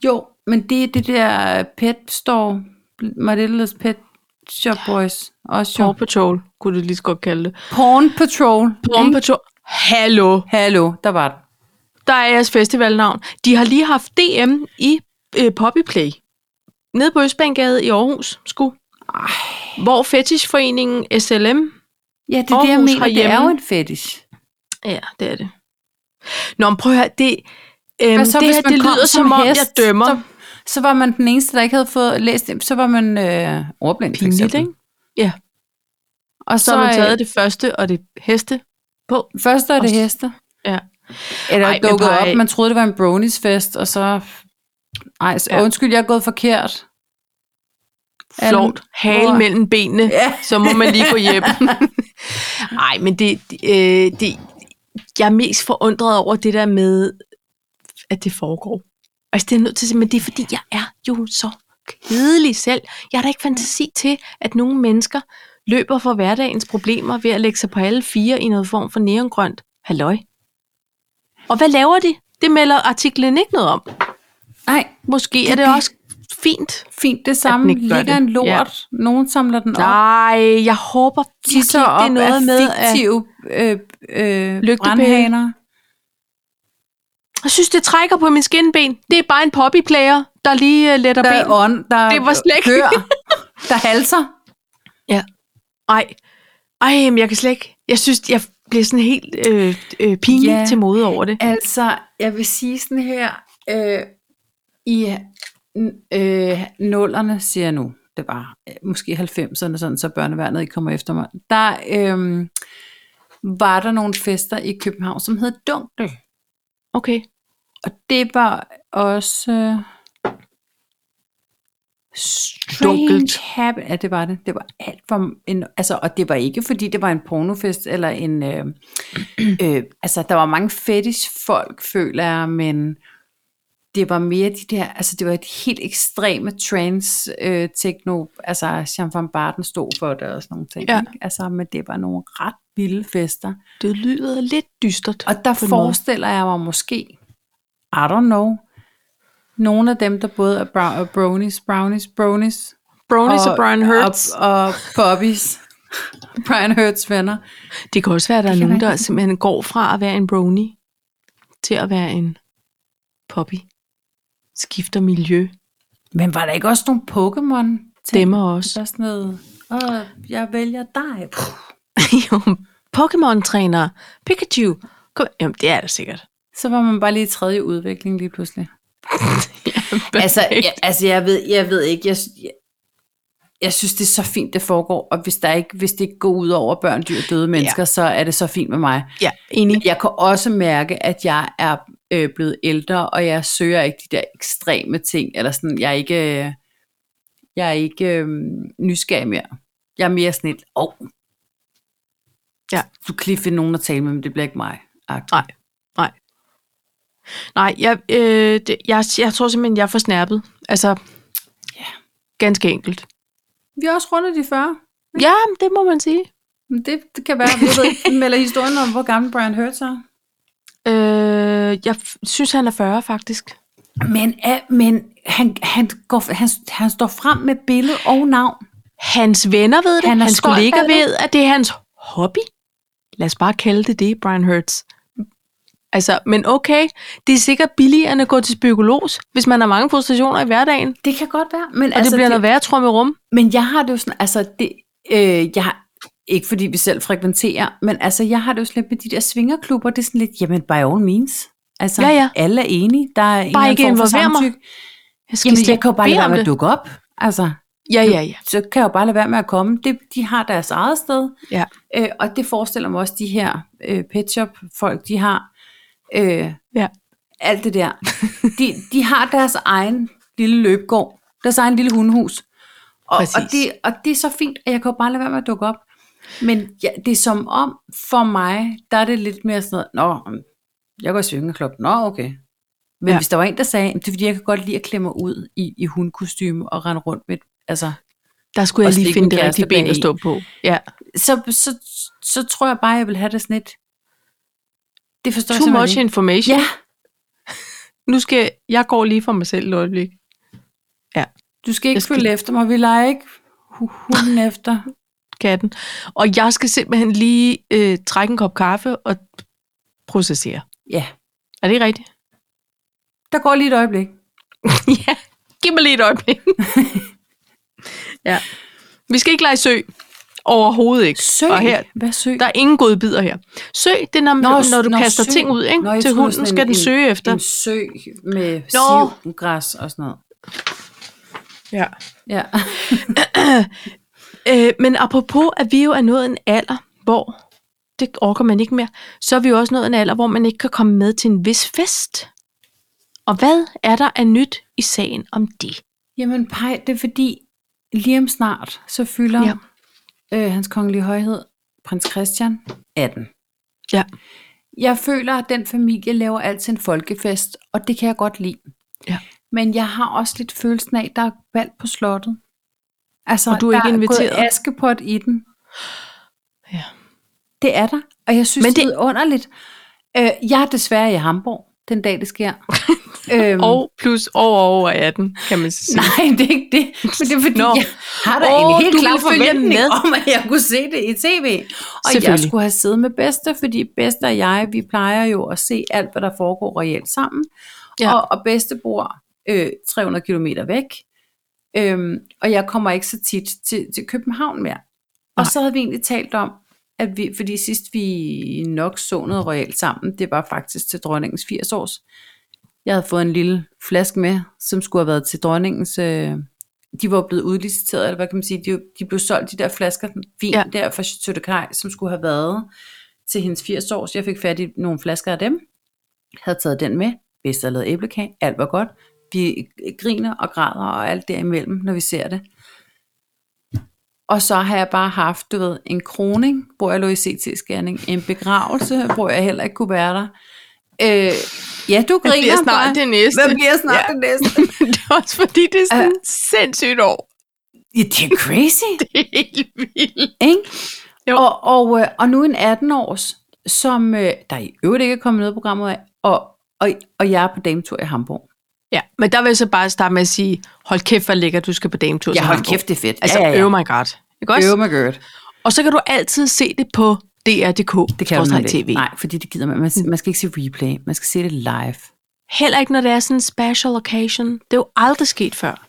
Speaker 1: Jo, men det er det der pet store, My Little's Pet Shop Boys, også jo.
Speaker 2: Paw Patrol, kunne du lige så godt kalde det.
Speaker 1: Porn Patrol.
Speaker 2: Paw
Speaker 1: ikke?
Speaker 2: Patrol. Hallo,
Speaker 1: Hallo, der var det.
Speaker 2: der er jeres festivalnavn. De har lige haft DM i øh, Poppy Play. Nede på Østbanegade i Aarhus, sku. Hvor fetishforeningen SLM
Speaker 1: Ja, det er det, jeg
Speaker 2: Aarhus
Speaker 1: mener. Det er
Speaker 2: herhjemme.
Speaker 1: jo en fetish.
Speaker 2: Ja, det er det. Nå, men prøv at høre, det, øhm,
Speaker 1: Hvad så,
Speaker 2: det
Speaker 1: hvis
Speaker 2: her,
Speaker 1: man
Speaker 2: det
Speaker 1: kom
Speaker 2: lyder
Speaker 1: som
Speaker 2: som om,
Speaker 1: hest,
Speaker 2: jeg dømmer.
Speaker 1: så- Så var man den eneste, der ikke havde fået læst det. Så var man øh, ordblind, for
Speaker 2: Pinligt,
Speaker 1: eksempel.
Speaker 2: ikke?
Speaker 1: Og
Speaker 2: Så,
Speaker 1: så,
Speaker 2: har man
Speaker 1: øh,
Speaker 2: taget det første, og det heste.
Speaker 1: Først er det
Speaker 2: og s-
Speaker 1: heste.
Speaker 2: Ja.
Speaker 1: Eller
Speaker 2: Ej,
Speaker 1: Ej,
Speaker 2: men
Speaker 1: dukket
Speaker 2: bare-
Speaker 1: op, man troede, det var en bronies-fest, og så... Ej, så,
Speaker 2: Ja.
Speaker 1: ja. undskyld, jeg er gået forkert. Alle-
Speaker 2: Flot. Hale
Speaker 1: Hvor-
Speaker 2: mellem benene.
Speaker 1: Ja.
Speaker 2: Så må man lige gå hjem. Nej, men det, det, øh, det... Jeg er mest forundret over det der med, at det foregår. Altså, det er jeg nødt til at sige, men det er fordi, jeg er jo så kedelig selv. Jeg har da ikke fantasi til, at nogle mennesker løber fra hverdagens problemer ved at lægge sig på alle fire i noget form for neongrønt. Halløj. Og hvad laver de? Det melder artiklen ikke noget om.
Speaker 1: Nej,
Speaker 2: Måske er
Speaker 1: Det
Speaker 2: det
Speaker 1: er det.
Speaker 2: også fint.
Speaker 1: fint det samme.
Speaker 2: ikke gør
Speaker 1: Ligger
Speaker 2: det.
Speaker 1: en lort.
Speaker 2: Ja.
Speaker 1: Nogen samler den op.
Speaker 2: Nej, jeg håber virkelig
Speaker 1: tisser
Speaker 2: ikke,
Speaker 1: op
Speaker 2: det er noget
Speaker 1: af
Speaker 2: med, at
Speaker 1: fiktive øh, øh,
Speaker 2: Lygtepæle.
Speaker 1: brandhaner.
Speaker 2: Jeg synes, det trækker på min skinben. Det er bare en poppyplayer, der lige uh, letter
Speaker 1: Der er
Speaker 2: ben.
Speaker 1: ånd, der
Speaker 2: Det var slet ikke-
Speaker 1: kører, der halser.
Speaker 2: Ej, Ej men jeg kan slet ikke. Jeg synes, jeg bliver sådan helt øh, øh, pinlig
Speaker 1: Ja.
Speaker 2: til mode over det.
Speaker 1: Altså, jeg vil sige sådan her, øh, i øh, nullerne, siger jeg nu, det var øh, måske 90'erne, sådan, så børneværnet ikke kommer efter mig, der øh, var der nogle fester i København, som hed Dunkel.
Speaker 2: Okay.
Speaker 1: Og det var også... Øh, strange
Speaker 2: Dunkelt.
Speaker 1: Habit. Ja, det var det. Det var alt for... En, altså, og det var ikke, fordi det var en pornofest, eller en... Øh, øh, altså, der var mange fetish folk, føler jeg, men det var mere de der, altså det var et helt ekstreme trans øh, techno, altså Jean van Barten stod for det og sådan nogle ting.
Speaker 2: Ja.
Speaker 1: Ikke? Altså, men det var nogle ret vilde fester.
Speaker 2: Det lyder lidt dystert.
Speaker 1: Og der
Speaker 2: på en måde.
Speaker 1: forestiller jeg mig måske, I don't know, nogle af dem, der både er bra- brownies, brownies, brownies,
Speaker 2: Brownies og, og Brian Hurts.
Speaker 1: og, og poppies, Brian Hurts venner.
Speaker 2: Det kan også være, at der er
Speaker 1: Det kan
Speaker 2: nogen,
Speaker 1: være.
Speaker 2: der simpelthen går fra at være en brownie til at være en poppy. Skifter miljø.
Speaker 1: Men var der ikke også nogle Pokémon?
Speaker 2: Stemmer også.
Speaker 1: Der er sådan noget, Åh, jeg vælger dig. Puh.
Speaker 2: jo, Pokémon-træner. Pikachu. Kom. Jamen, det er der sikkert.
Speaker 1: Så var man bare lige i tredje udvikling lige pludselig.
Speaker 2: Perfekt.
Speaker 1: Altså, jeg, altså jeg, ved, jeg ved ikke, jeg, jeg, jeg synes, det er så fint, det foregår, og hvis, der ikke, hvis det ikke går ud over børn, dyr, døde mennesker, ja. så er det så fint med mig.
Speaker 2: Ja, enig.
Speaker 1: Jeg kan også mærke, at jeg er øh, blevet ældre, og jeg søger ikke de der ekstreme ting, eller sådan, jeg er ikke, øh, jeg er ikke øh, nysgerrig mere. Jeg er mere sådan et, åh, oh.
Speaker 2: Ja.
Speaker 1: du kan lige finde nogen at tale med, men det bliver ikke mig. agtigt.
Speaker 2: Nej. Nej, jeg, øh, det, jeg, jeg tror simpelthen, jeg er for snærpet. Altså, ja. ganske enkelt.
Speaker 1: Vi er også rundt af de 40.
Speaker 2: Ja, men det må man sige.
Speaker 1: Men det, det kan være, jeg ved ikke, melder historien om, hvor gammel Brian Hurts er.
Speaker 2: Øh, jeg f- synes, han er 40, faktisk.
Speaker 1: Men, ja, men han, han, går, han, han står frem med billede og navn.
Speaker 2: Hans venner ved det.
Speaker 1: Han er
Speaker 2: Hans
Speaker 1: stolt
Speaker 2: kollegaer
Speaker 1: af det.
Speaker 2: ved, at det er hans hobby. Lad os bare kalde det det, Brian Hurts. Altså, men okay, det er sikkert billigere end at gå til spykolos, hvis man har mange frustrationer i hverdagen.
Speaker 1: Det kan godt være. Men,
Speaker 2: Og altså, det bliver noget værre, tror jeg, med rum.
Speaker 1: Men jeg har det jo sådan, altså det, øh, jeg har, ikke fordi vi selv frekventerer, men altså jeg har det jo sådan lidt med de der svingerklubber, det er sådan lidt, jamen by all means. Altså
Speaker 2: Ja, ja.
Speaker 1: alle er enige, der er en
Speaker 2: Bare
Speaker 1: eller
Speaker 2: ikke
Speaker 1: anden form for
Speaker 2: involver mig.
Speaker 1: samtykke.
Speaker 2: Jeg skal
Speaker 1: Jamen
Speaker 2: slet
Speaker 1: jeg kan jo bare
Speaker 2: bede
Speaker 1: lade være
Speaker 2: om
Speaker 1: med at
Speaker 2: det.
Speaker 1: dukke op, altså
Speaker 2: Ja, ja, ja.
Speaker 1: så kan jeg jo bare lade være med at komme. Det, de har deres eget sted,
Speaker 2: Ja.
Speaker 1: øh, og det forestiller mig også de her øh, pet shop folk, de har. Øh,
Speaker 2: Ja.
Speaker 1: Alt det der. De, de har deres egen lille løbegård, deres egen lille hundehus. Og, og,
Speaker 2: Præcis.
Speaker 1: det, og det er så fint, at jeg kan jo bare lade være med at dukke op. Men ja, det er som om, for mig, der er det lidt mere sådan noget, nå, jeg går i svingeklub, nå okay. Men
Speaker 2: Ja.
Speaker 1: ja. hvis der var en, der sagde, det er fordi, jeg kan godt lide at klemme mig ud i, i hundkostyme og rende rundt med, altså,
Speaker 2: Der skulle jeg
Speaker 1: Og
Speaker 2: lige
Speaker 1: slikke
Speaker 2: finde
Speaker 1: en
Speaker 2: det rigtige
Speaker 1: kæreste
Speaker 2: ben at
Speaker 1: bagi.
Speaker 2: stå på. Ja.
Speaker 1: så, så, så tror jeg bare, jeg vil have det sådan et... Det forstår
Speaker 2: Too
Speaker 1: jeg
Speaker 2: much
Speaker 1: simpelthen ikke.
Speaker 2: information.
Speaker 1: Ja,
Speaker 2: Nu skal jeg går lige for mig selv et øjeblik.
Speaker 1: du skal ikke
Speaker 2: Jeg skal-
Speaker 1: skal... følge efter mig. Vi leger ikke hu- hunden efter.
Speaker 2: katten. Og jeg skal simpelthen lige øh, trække en kop kaffe og processere.
Speaker 1: Ja,
Speaker 2: Er det rigtigt?
Speaker 1: der går lige et øjeblik.
Speaker 2: ja. Giv mig lige et øjeblik. ja. Vi skal ikke lege sø. Overhovedet ikke.
Speaker 1: Sø.
Speaker 2: Og her,
Speaker 1: Hvad sø?
Speaker 2: der er ingen godbidder her. Søg, det er, når,
Speaker 1: Nå,
Speaker 2: når du
Speaker 1: nå,
Speaker 2: kaster
Speaker 1: sø.
Speaker 2: ting ud ikke?
Speaker 1: Nå, jeg
Speaker 2: til
Speaker 1: troede
Speaker 2: hunden,
Speaker 1: sådan
Speaker 2: skal
Speaker 1: en-
Speaker 2: den
Speaker 1: en-
Speaker 2: søge efter.
Speaker 1: En sø med
Speaker 2: Nå.
Speaker 1: sivgræs og sådan noget.
Speaker 2: Ja.
Speaker 1: Ja.
Speaker 2: Øh, men apropos, at vi jo er nået en alder, hvor det orker man ikke mere, så er vi jo også nået en alder, hvor man ikke kan komme med til en vis fest. Og hvad er der af nyt i sagen om det?
Speaker 1: Jamen, pej, det er fordi, lige om snart, så fylder
Speaker 2: Ja.
Speaker 1: ja. øh, hans kongelige højhed, prins Christian, 18.
Speaker 2: Ja.
Speaker 1: Jeg føler, at den familie laver altid en folkefest, og det kan jeg godt lide.
Speaker 2: Ja.
Speaker 1: Men jeg har også lidt følelsen af, at der er valg på slottet. Altså,
Speaker 2: Og du er
Speaker 1: der
Speaker 2: ikke inviteret?
Speaker 1: Er gået askepot i den.
Speaker 2: Ja.
Speaker 1: Det er der, og jeg synes,
Speaker 2: Men
Speaker 1: Men det,
Speaker 2: det-
Speaker 1: det er underligt. Øh, jeg er desværre i Hamburg den dag, det sker. øhm,
Speaker 2: Og plus over over 18, kan man sige.
Speaker 1: Nej, det er ikke det. Men det er fordi,
Speaker 2: Nå.
Speaker 1: jeg har da
Speaker 2: Åh,
Speaker 1: en helt
Speaker 2: du
Speaker 1: klar
Speaker 2: vil følge
Speaker 1: forventning
Speaker 2: med.
Speaker 1: med. om, at jeg kunne se det i tv. Og jeg
Speaker 2: Selvfølgelig.
Speaker 1: skulle have siddet med Bester, fordi Bester og jeg, vi plejer jo at se alt, hvad der foregår reelt sammen.
Speaker 2: Ja.
Speaker 1: Ja. Og, og Beste bor øh, 300 km væk. Øhm, og jeg kommer ikke så tit til, til København mere. Og
Speaker 2: Nej.
Speaker 1: så havde vi egentlig talt om, at vi, fordi sidst vi nok så noget royalt sammen, det var faktisk til dronningens 80 års. Jeg havde fået en lille flaske med, som skulle have været til dronningens... Øh, de var blevet udliciteret, eller hvad kan man sige, de, de blev solgt de der flasker vin
Speaker 2: Ja.
Speaker 1: ja. der fra Chateau som skulle have været til hendes 80 års. Jeg fik fat i nogle flasker af dem, havde taget den med, hvis der lavede æblekage, alt var godt. Vi griner og græder og alt derimellem, når vi ser det. Og så har jeg bare haft, du ved, en kroning, hvor jeg lå i CT-skærning, en begravelse, hvor jeg heller ikke kunne være der. Øh, ja, du griner
Speaker 2: bliver snart
Speaker 1: bare.
Speaker 2: det næste.
Speaker 1: Hvad bliver snart ja.
Speaker 2: Ja.
Speaker 1: det næste?
Speaker 2: det er også fordi, det er sådan uh, sindssygt år.
Speaker 1: Ja, det er crazy.
Speaker 2: Det er helt vildt.
Speaker 1: Ikke?
Speaker 2: Jo.
Speaker 1: Og, og, øh, og nu en 18-års, som øh, der i øvrigt ikke er kommet noget programmet af, og, og, og jeg er på dametur i Hamburg.
Speaker 2: Ja, men der vil jeg så bare starte med at sige, hold kæft, hvor lækker du skal på dametur. til Hamburg.
Speaker 1: det er fedt.
Speaker 2: Altså, ja, ja, ja. oh my god. Ikke også?
Speaker 1: Øv mig godt.
Speaker 2: Og så kan du altid se det på dr.dk.
Speaker 1: Det kan jeg
Speaker 2: skråstreg
Speaker 1: man
Speaker 2: TV.
Speaker 1: ikke. Nej, fordi det gider man. Man, man skal ikke se replay. Man skal se det live.
Speaker 2: Heller ikke, når det er sådan en special occasion. Det er jo aldrig sket før.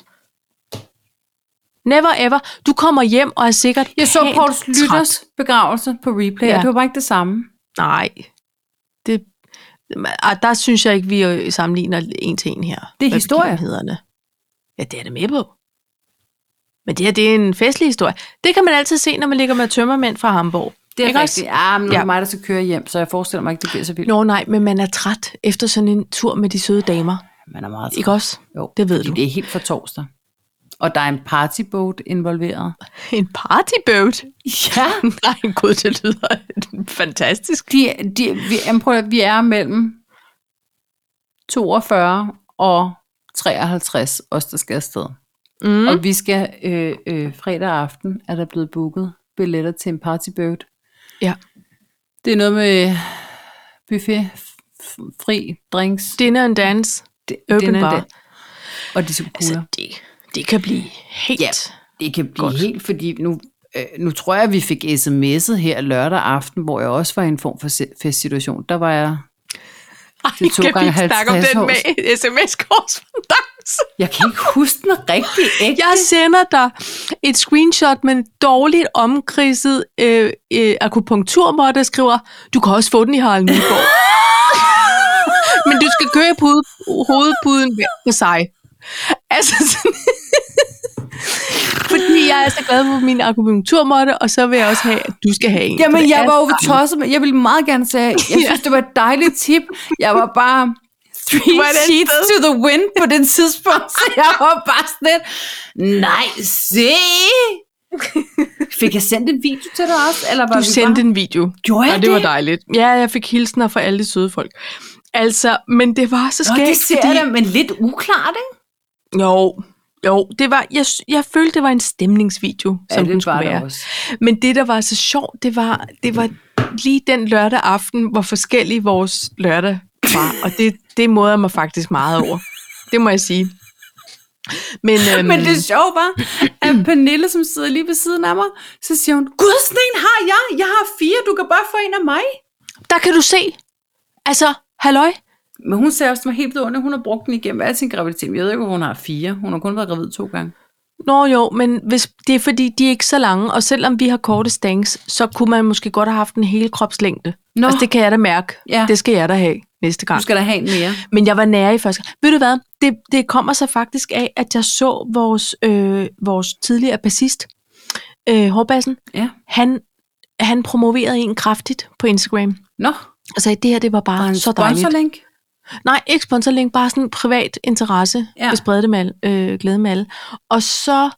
Speaker 2: Never ever. Du kommer hjem og er sikkert
Speaker 1: Jeg så
Speaker 2: pænt
Speaker 1: Pouls
Speaker 2: træt.
Speaker 1: Lytters begravelse på replay,
Speaker 2: Ja.
Speaker 1: ja. og det var bare ikke det samme.
Speaker 2: Nej. Det, ah, der synes jeg ikke, vi øh, sammenligner en til en her.
Speaker 1: Det er
Speaker 2: Med
Speaker 1: historie.
Speaker 2: begivenhederne. Ja, det er det med på. Men det her, det er en festlig historie. Det kan man altid se, når man ligger med tømmermænd fra Hamburg.
Speaker 1: Det er
Speaker 2: Ikke
Speaker 1: ikke
Speaker 2: også?
Speaker 1: rigtigt. Ja, men nu er
Speaker 2: Ja.
Speaker 1: det mig, der skal køre hjem, så jeg forestiller mig ikke, det bliver så vildt.
Speaker 2: Nå nej, men man er træt efter sådan en tur med de søde damer.
Speaker 1: Man er meget
Speaker 2: Ikke også?
Speaker 1: Jo,
Speaker 2: Det ved
Speaker 1: fordi
Speaker 2: du.
Speaker 1: Det er helt for torsdag. Og der er en partyboat involveret.
Speaker 2: En partyboat?
Speaker 1: Ja.
Speaker 2: Nej, gud, det lyder fantastisk.
Speaker 1: de, de, vi, jamen, prøv at, høre, vi er mellem 42 og 53 os, der skal afsted. Mm.
Speaker 2: Mm.
Speaker 1: Og vi skal øh, øh, fredag aften, er der blevet booket billetter til en partybird.
Speaker 2: Ja.
Speaker 1: Det er noget med buffet, f- fri drinks,
Speaker 2: Dinner and dance.
Speaker 1: det,
Speaker 2: Open
Speaker 1: den er
Speaker 2: bar.
Speaker 1: den. og de skal
Speaker 2: Altså,
Speaker 1: altså,
Speaker 2: det, det kan blive helt...
Speaker 1: Ja. Det kan blive
Speaker 2: Godt.
Speaker 1: Godt. helt, fordi nu, øh, nu tror jeg, at vi fik sms'et her lørdag aften, hvor jeg også var i en form for se- festsituation. Der var jeg Det er to
Speaker 2: kan vi
Speaker 1: gange
Speaker 2: ikke
Speaker 1: halvtreds
Speaker 2: snakke om
Speaker 1: års.
Speaker 2: den med sms-korrespondence?
Speaker 1: Jeg kan ikke huske den rigtig ægte.
Speaker 2: Jeg sender dig et screenshot med en dårligt omkridset øh, øh, akupunkturmåtte, der skriver, du kan også få den i Harald Nyborg. Men du skal købe hoved- hovedpuden hver for sig. Altså sådan... Fordi jeg er så glad for min akupunkturmåtte, og så vil jeg også have, at du skal have en.
Speaker 1: Jamen,
Speaker 2: Det
Speaker 1: jeg
Speaker 2: er
Speaker 1: var jo tosset, men jeg ville meget gerne sige, jeg synes, det var et dejligt tip. Jeg var bare three
Speaker 2: var et andet
Speaker 1: sheets to the wind på det tidspunkt, så jeg var bare sådan lidt, nej, se! Fik jeg sendt en video til dig også? Eller var
Speaker 2: Du
Speaker 1: vi
Speaker 2: sendte
Speaker 1: bare...
Speaker 2: en video.
Speaker 1: Gjorde jeg
Speaker 2: og det, var dejligt. Ja, jeg fik hilsener fra alle de søde folk. Altså, men det var så
Speaker 1: Nå,
Speaker 2: skægt,
Speaker 1: det ser jeg da, men lidt uklart, ikke?
Speaker 2: Jo, jo, det var, jeg, jeg følte, det var en stemningsvideo, som den skulle være.
Speaker 1: også.
Speaker 2: Men det, der var så sjovt, det var, det var lige den lørdag aften, hvor forskellige vores lørdag var. Og det, det modede jeg mig faktisk meget over. Det må jeg sige. Men, øhm,
Speaker 1: Men det sjove var, at Pernille, som sidder lige ved siden af mig, så siger hun, gud, sådan en har jeg. Jeg har fire, du kan bare få en af mig.
Speaker 2: der kan du se. Altså, halløj.
Speaker 1: Men hun sagde også, at helt vidunderligt, hun har brugt den igennem al sin graviditet. Jeg ved ikke, hvor hun har fire. Hun har kun været gravid to gange.
Speaker 2: Nå jo, men hvis, det er fordi, de er ikke så lange, og selvom vi har korte stængs, så kunne man måske godt have haft en hele kropslængde.
Speaker 1: Nå.
Speaker 2: Altså, det kan jeg da mærke.
Speaker 1: Ja.
Speaker 2: Det skal jeg da have næste gang.
Speaker 1: Du skal da have en mere.
Speaker 2: Men jeg var nær i første gang. Ved du hvad? Det, det kommer så faktisk af, at jeg så vores, øh, vores tidligere bassist, øh, Hårbassen.
Speaker 1: Ja.
Speaker 2: Han, han promoverede en kraftigt på Instagram.
Speaker 1: Nå,
Speaker 2: Og sagde, det her, det var
Speaker 1: og
Speaker 2: bare
Speaker 1: en
Speaker 2: så dejligt.
Speaker 1: sponsorlink.
Speaker 2: Nej, ikke sponsorlink, bare sådan en privat interesse.
Speaker 1: Ja.
Speaker 2: Ja. Jeg spreder det med alle, øh, glæde med alle. Og så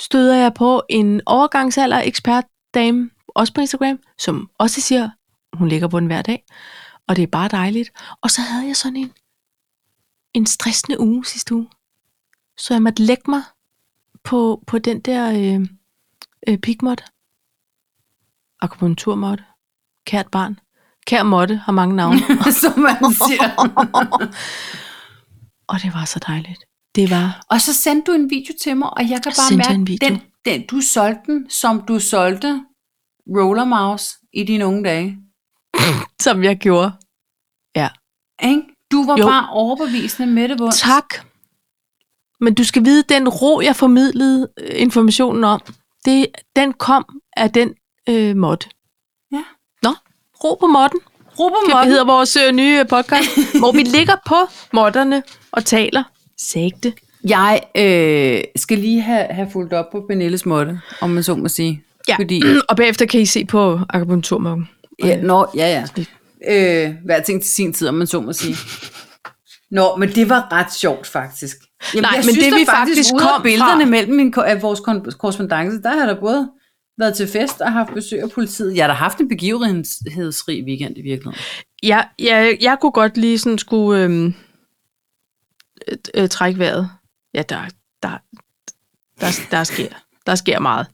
Speaker 2: støder jeg på en overgangsalder ekspert dame, også på Instagram, som også siger, hun ligger på den hver dag, og det er bare dejligt. Og så havde jeg sådan en, en stressende uge sidste uge, så jeg måtte lægge mig på, på den der øh, øh, pigmåtte, akupunkturmåtte, kært barn. Kær måtte har mange navne.
Speaker 1: som man siger.
Speaker 2: Og det var så dejligt. Det var.
Speaker 1: Og så sendte du en video til mig, og jeg kan bare
Speaker 2: Sendte jeg
Speaker 1: mærke,
Speaker 2: en video?
Speaker 1: Den, den, du solgte den, som du solgte Roller Mouse i dine unge dage.
Speaker 2: Som jeg gjorde. Ja.
Speaker 1: Ikke? Du var jo.
Speaker 2: Jo.
Speaker 1: bare overbevisende med det. Vunds.
Speaker 2: Tak. Men du skal vide, den ro, jeg formidlede øh, informationen om, det, den kom af den øh, mod.
Speaker 1: Ja.
Speaker 2: Nå, ro på modden.
Speaker 1: Robert
Speaker 2: Det
Speaker 1: Motten,
Speaker 2: hedder vores øh, nye øh, podcast, hvor vi ligger på modderne og taler. Sægte.
Speaker 1: jeg øh, skal lige have, have fulgt op på Pernilles måtte, om man så må sige.
Speaker 2: Ja.
Speaker 1: Fordi,
Speaker 2: Og bagefter kan I se på akupunkturmorgen.
Speaker 1: Ja, nå, ja, ja. Øh, hver ting til sin tid, om man så må sige. Nå, men det var ret sjovt, faktisk. Jamen,
Speaker 2: Nej,
Speaker 1: jeg
Speaker 2: men
Speaker 1: synes,
Speaker 2: det,
Speaker 1: der
Speaker 2: vi faktisk
Speaker 1: ud af
Speaker 2: kom fra-
Speaker 1: billederne mellem min, ko- af vores kon- korrespondence, der har der både været til fest og haft besøg af politiet. Jeg har da haft en begivenhedsrig weekend i virkeligheden.
Speaker 2: Jeg, jeg, jeg kunne godt lige sådan skulle øhm, øh, øh, trække vejret. Ja, der, der, der, der, sker, der sker meget.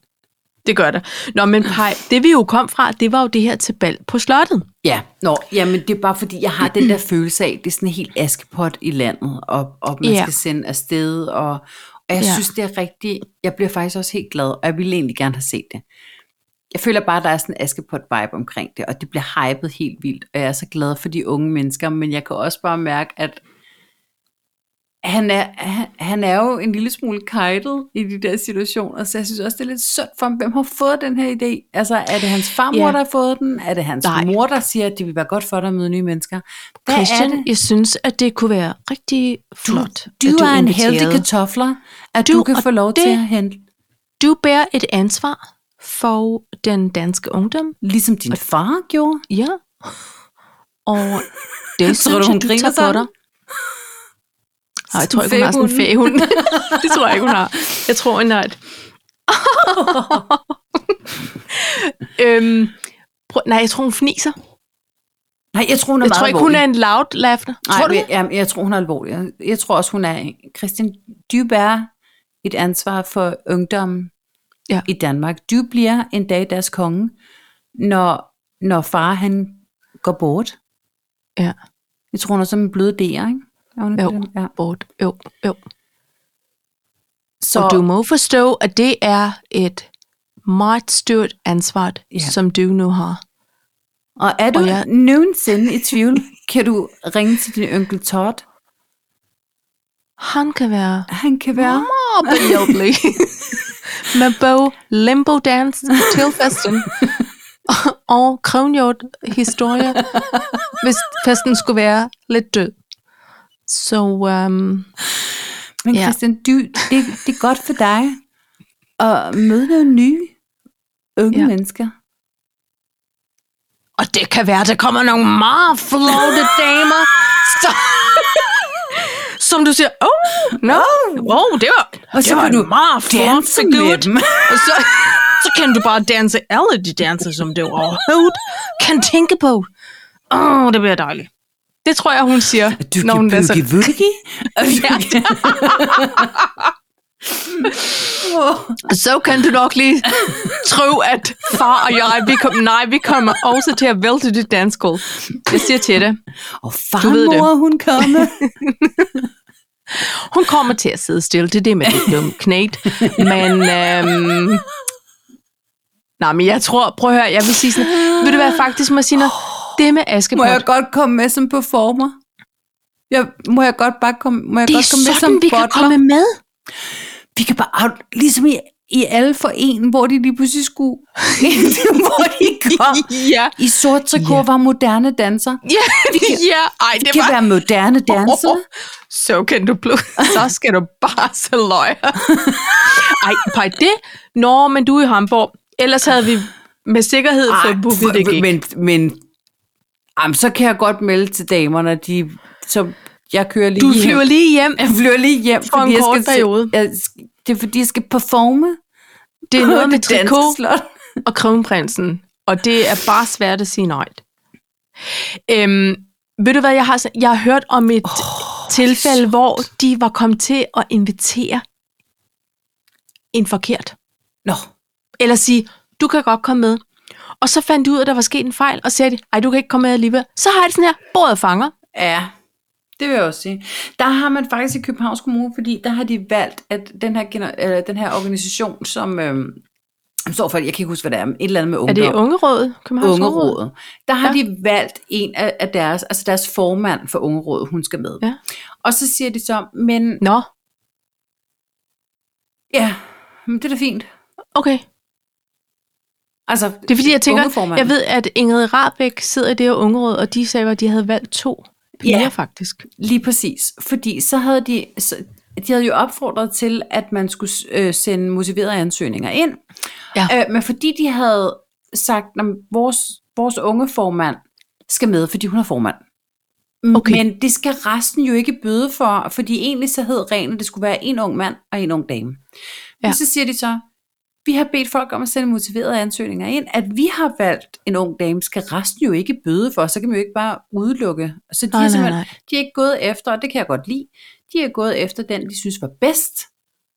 Speaker 2: Det gør der. Nå, men Paj, det vi jo kom fra, det var jo det her til bal på slottet.
Speaker 1: Ja, nå, jamen det er bare fordi, jeg har den der følelse af, det er sådan helt askepot i landet, og, og man ja.
Speaker 2: Ja.
Speaker 1: skal sende afsted, og, og jeg ja.
Speaker 2: Ja.
Speaker 1: synes, det er rigtigt, jeg bliver faktisk også helt glad, og jeg ville egentlig gerne have set det. Jeg føler bare, der er sådan en askepot-vibe omkring det, og det bliver hypet helt vildt, og jeg er så glad for de unge mennesker, men jeg kan også bare mærke, at han er, han, han er jo en lille smule kajtet i de der situationer, så jeg synes også, det er lidt synd for ham. Hvem har fået den her idé? Altså, er det hans farmor,
Speaker 2: Ja.
Speaker 1: der har fået den? Er det hans
Speaker 2: Nej.
Speaker 1: mor, der siger, at det vil være godt for dig at møde nye mennesker? Hvad er
Speaker 2: Christian,
Speaker 1: det?
Speaker 2: jeg synes, at det kunne være rigtig flot. at
Speaker 1: Du, du er en
Speaker 2: inviterede.
Speaker 1: heldig kartofler, at du,
Speaker 2: Du
Speaker 1: du kan
Speaker 2: og
Speaker 1: få lov det...
Speaker 2: det-
Speaker 1: til at hente,
Speaker 2: Du bærer et ansvar for den danske ungdom.
Speaker 1: ligesom din far gjorde.
Speaker 2: Ja. Og det
Speaker 1: Tror du,
Speaker 2: synes
Speaker 1: hun
Speaker 2: jeg, du
Speaker 1: griner
Speaker 2: tager på
Speaker 1: sådan?
Speaker 2: dig. Nej, jeg
Speaker 1: Sådan
Speaker 2: tror ikke, hun har sådan en fæhund. det tror jeg ikke, hun har. Jeg tror, hun har et... øhm, prøv, nej, jeg tror, hun fniser.
Speaker 1: Nej, jeg tror, hun er
Speaker 2: Jeg
Speaker 1: meget
Speaker 2: tror ikke, hun er en loud laughter.
Speaker 1: Nej,
Speaker 2: tror du?
Speaker 1: men, jamen, jeg tror, hun er alvorlig. Jeg, jeg tror også, hun er... Christian, du bærer et ansvar for ungdommen
Speaker 2: Ja.
Speaker 1: i Danmark. Du bliver en dag deres konge, når, når far han går bort.
Speaker 2: Ja.
Speaker 1: Jeg tror, hun er som en blød D'er, ikke? Er hun ikke
Speaker 2: Jo.
Speaker 1: det? Ja.
Speaker 2: Bort. Jo, jo.
Speaker 1: Så
Speaker 2: Så og du må forstå, at det er et meget stort ansvar,
Speaker 1: Ja.
Speaker 2: som du nu har.
Speaker 1: og er du
Speaker 2: og jeg-
Speaker 1: nogensinde i tvivl, Kan du ringe til din onkel Todd?
Speaker 2: Han kan være
Speaker 1: Han kan være...
Speaker 2: meget behjælpelig med både limbo dance til festen og kronhjort historie, hvis festen skulle være lidt død. Så um,
Speaker 1: Men
Speaker 2: Ja.
Speaker 1: Christian, du, det, det er godt for dig at møde nogle nye unge
Speaker 2: Ja.
Speaker 1: ja. mennesker.
Speaker 2: Og det kan være, der kommer nogle meget flotte damer, så, som du siger, oh, no, oh, det var,
Speaker 1: Og så
Speaker 2: det var
Speaker 1: kan
Speaker 2: en
Speaker 1: du
Speaker 2: meget flot
Speaker 1: danse med
Speaker 2: gut.
Speaker 1: dem.
Speaker 2: Og så, så kan du bare danse alle de danser, som du overhovedet kan tænke på. Åh, oh, det bliver dejligt. Det tror jeg, hun siger, når hun
Speaker 1: altså,
Speaker 2: danser.
Speaker 1: boogie.
Speaker 2: Så kan du nok lige tro, at far og jeg, vi kom, nej, vi kommer også til at vælte dit dansgulv. Jeg siger til dig.
Speaker 1: Og
Speaker 2: ved det.
Speaker 1: farmor, hun kommer.
Speaker 2: Hun kommer til at sidde stille, det er det med det dumme knægt. Men, øhm, nej, men jeg tror, prøv at høre, jeg vil sige sådan, vil du være faktisk, Marcina, det med
Speaker 1: Må
Speaker 2: Askepot,
Speaker 1: jeg godt komme med som performer? Jeg, må jeg godt bare komme, må jeg
Speaker 2: det er
Speaker 1: godt komme med som
Speaker 2: sådan, vi kan
Speaker 1: butler?
Speaker 2: komme med.
Speaker 1: vi kan bare, out- ligesom i, i alle for en, hvor de lige pludselig skulle, hvor de kom.
Speaker 2: Ja,
Speaker 1: I sort trikot
Speaker 2: Ja.
Speaker 1: yeah. var moderne danser.
Speaker 2: ja, ja, ej, det
Speaker 1: Det kan
Speaker 2: var...
Speaker 1: være moderne danser.
Speaker 2: Åh, Så kan du blive, så skal du bare så løje. Ej, pej det. Nå, men du er i Hamburg. Ellers havde vi med sikkerhed
Speaker 1: Ej,
Speaker 2: fået booket det gik.
Speaker 1: men, men jamen, så kan jeg godt melde til damerne, de, som jeg kører lige
Speaker 2: Du
Speaker 1: hjem.
Speaker 2: flyver lige hjem.
Speaker 1: jeg flyver lige hjem
Speaker 2: For en
Speaker 1: jeg
Speaker 2: kort
Speaker 1: skal, se-
Speaker 2: periode.
Speaker 1: Jeg, sk- det er fordi, jeg skal performe.
Speaker 2: Det er
Speaker 1: på
Speaker 2: noget med
Speaker 1: det danske
Speaker 2: trikot.
Speaker 1: slot.
Speaker 2: og kronprinsen, og det er bare svært at sige nej. Øhm, ved du hvad, jeg har, så- jeg har hørt om et oh, tilfælde, hvor de var kommet til at invitere en forkert.
Speaker 1: Nå,
Speaker 2: Eller sige, du kan godt komme med. Og så fandt de ud af, at der var sket en fejl, og sagde, de, ej, du kan ikke komme med alligevel. Så har jeg det sådan her, bordet fanger.
Speaker 1: ja. Det vil jeg også sige. Der har man faktisk i Københavns Kommune, fordi der har de valgt, at den her, gener- eller den her organisation, som øhm, som står for, jeg kan ikke huske, hvad det er, men et eller andet med
Speaker 2: Er
Speaker 1: ungdom.
Speaker 2: det ungerådet? Københavns
Speaker 1: Ungerådet. Der har
Speaker 2: Ja.
Speaker 1: ja. de valgt en af, af deres, altså deres formand for Ungerådet, hun skal med.
Speaker 2: Ja.
Speaker 1: Og så siger de så, men
Speaker 2: Nå,
Speaker 1: ja, men det er da fint.
Speaker 2: okay.
Speaker 1: Altså,
Speaker 2: Det er fordi, jeg tænker,
Speaker 1: Ungeformanden.
Speaker 2: jeg ved, at Ingrid Rabeck sidder i det her ungeråd, og de sagde, at de havde valgt to piger
Speaker 1: Ja.
Speaker 2: faktisk.
Speaker 1: lige præcis. Fordi så havde de, så, de havde jo opfordret til, at man skulle øh, sende motiverede ansøgninger ind.
Speaker 2: Ja.
Speaker 1: Øh, men fordi de havde sagt, at vores, vores unge formand skal med, fordi hun er formand.
Speaker 2: Okay.
Speaker 1: Men det skal resten jo ikke bøde for, fordi egentlig så hed reglen, at det skulle være en ung mand og en ung dame. Men
Speaker 2: Ja.
Speaker 1: ja. så siger de så, vi har bedt folk om at sende motiverede ansøgninger ind, at vi har valgt en ung dame, skal resten jo ikke bøde for, så kan man jo ikke bare udelukke. Så de,
Speaker 2: Nej,
Speaker 1: er
Speaker 2: nej,
Speaker 1: simpelthen-
Speaker 2: nej.
Speaker 1: de er ikke gået efter, og det kan jeg godt lide, de er gået efter den, de synes var bedst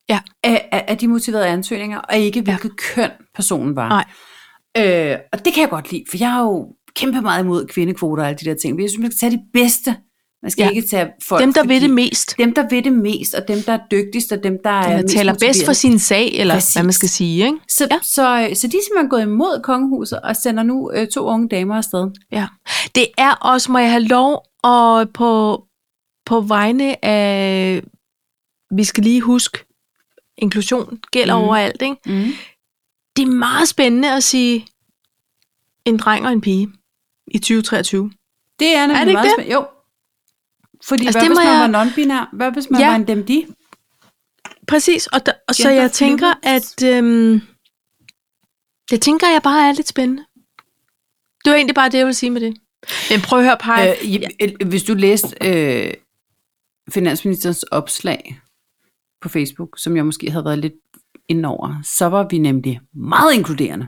Speaker 2: Ja.
Speaker 1: af, af, af de motiverede ansøgninger, og ikke hvilket ja. køn personen var.
Speaker 2: Nej.
Speaker 1: Øh, og det kan jeg godt lide, for jeg er jo kæmpe meget imod kvindekvoter og alle de der ting. Men jeg synes, man skal tage de bedste. Man skal
Speaker 2: Ja.
Speaker 1: ja. ikke tage folk.
Speaker 2: Dem, der
Speaker 1: fordi-
Speaker 2: ved det mest,
Speaker 1: Dem, der ved det mest, og dem, der er dygtigst, og dem, der er
Speaker 2: der
Speaker 1: mest
Speaker 2: taler bedst for
Speaker 1: motiverede.
Speaker 2: sin sag, eller Præcis.
Speaker 1: Præcis.
Speaker 2: hvad man skal sige, ikke?
Speaker 1: Så,
Speaker 2: Ja.
Speaker 1: ja. så, øh, så de er simpelthen gået imod kongehuset og sender nu øh, to unge damer afsted.
Speaker 2: Ja. Det er også, må jeg have lov, og på, på vegne af, vi skal lige huske, inklusion gælder mm.
Speaker 1: Mhm.
Speaker 2: overalt, ikke?
Speaker 1: Mm.
Speaker 2: Det er meget spændende at sige en dreng og en pige i 2023.
Speaker 1: Det er nemlig
Speaker 2: Er det ikke
Speaker 1: meget
Speaker 2: det?
Speaker 1: spændende. Jo. Fordi altså,
Speaker 2: Altså,
Speaker 1: hvad
Speaker 2: det
Speaker 1: hvis
Speaker 2: må
Speaker 1: man
Speaker 2: jeg-
Speaker 1: var non-binær? Hvad hvis man
Speaker 2: Ja.
Speaker 1: var en dem de?
Speaker 2: Præcis, og, der, og så
Speaker 1: Gender
Speaker 2: jeg tænker, at øhm, det tænker jeg bare er lidt spændende. Det var egentlig bare det, jeg ville sige med det. Men prøv at høre, Paj. Øh,
Speaker 1: Øh, j- øh, hvis du læste øh, finansministerens opslag på Facebook, som jeg måske havde været lidt inde over, så var vi nemlig meget inkluderende.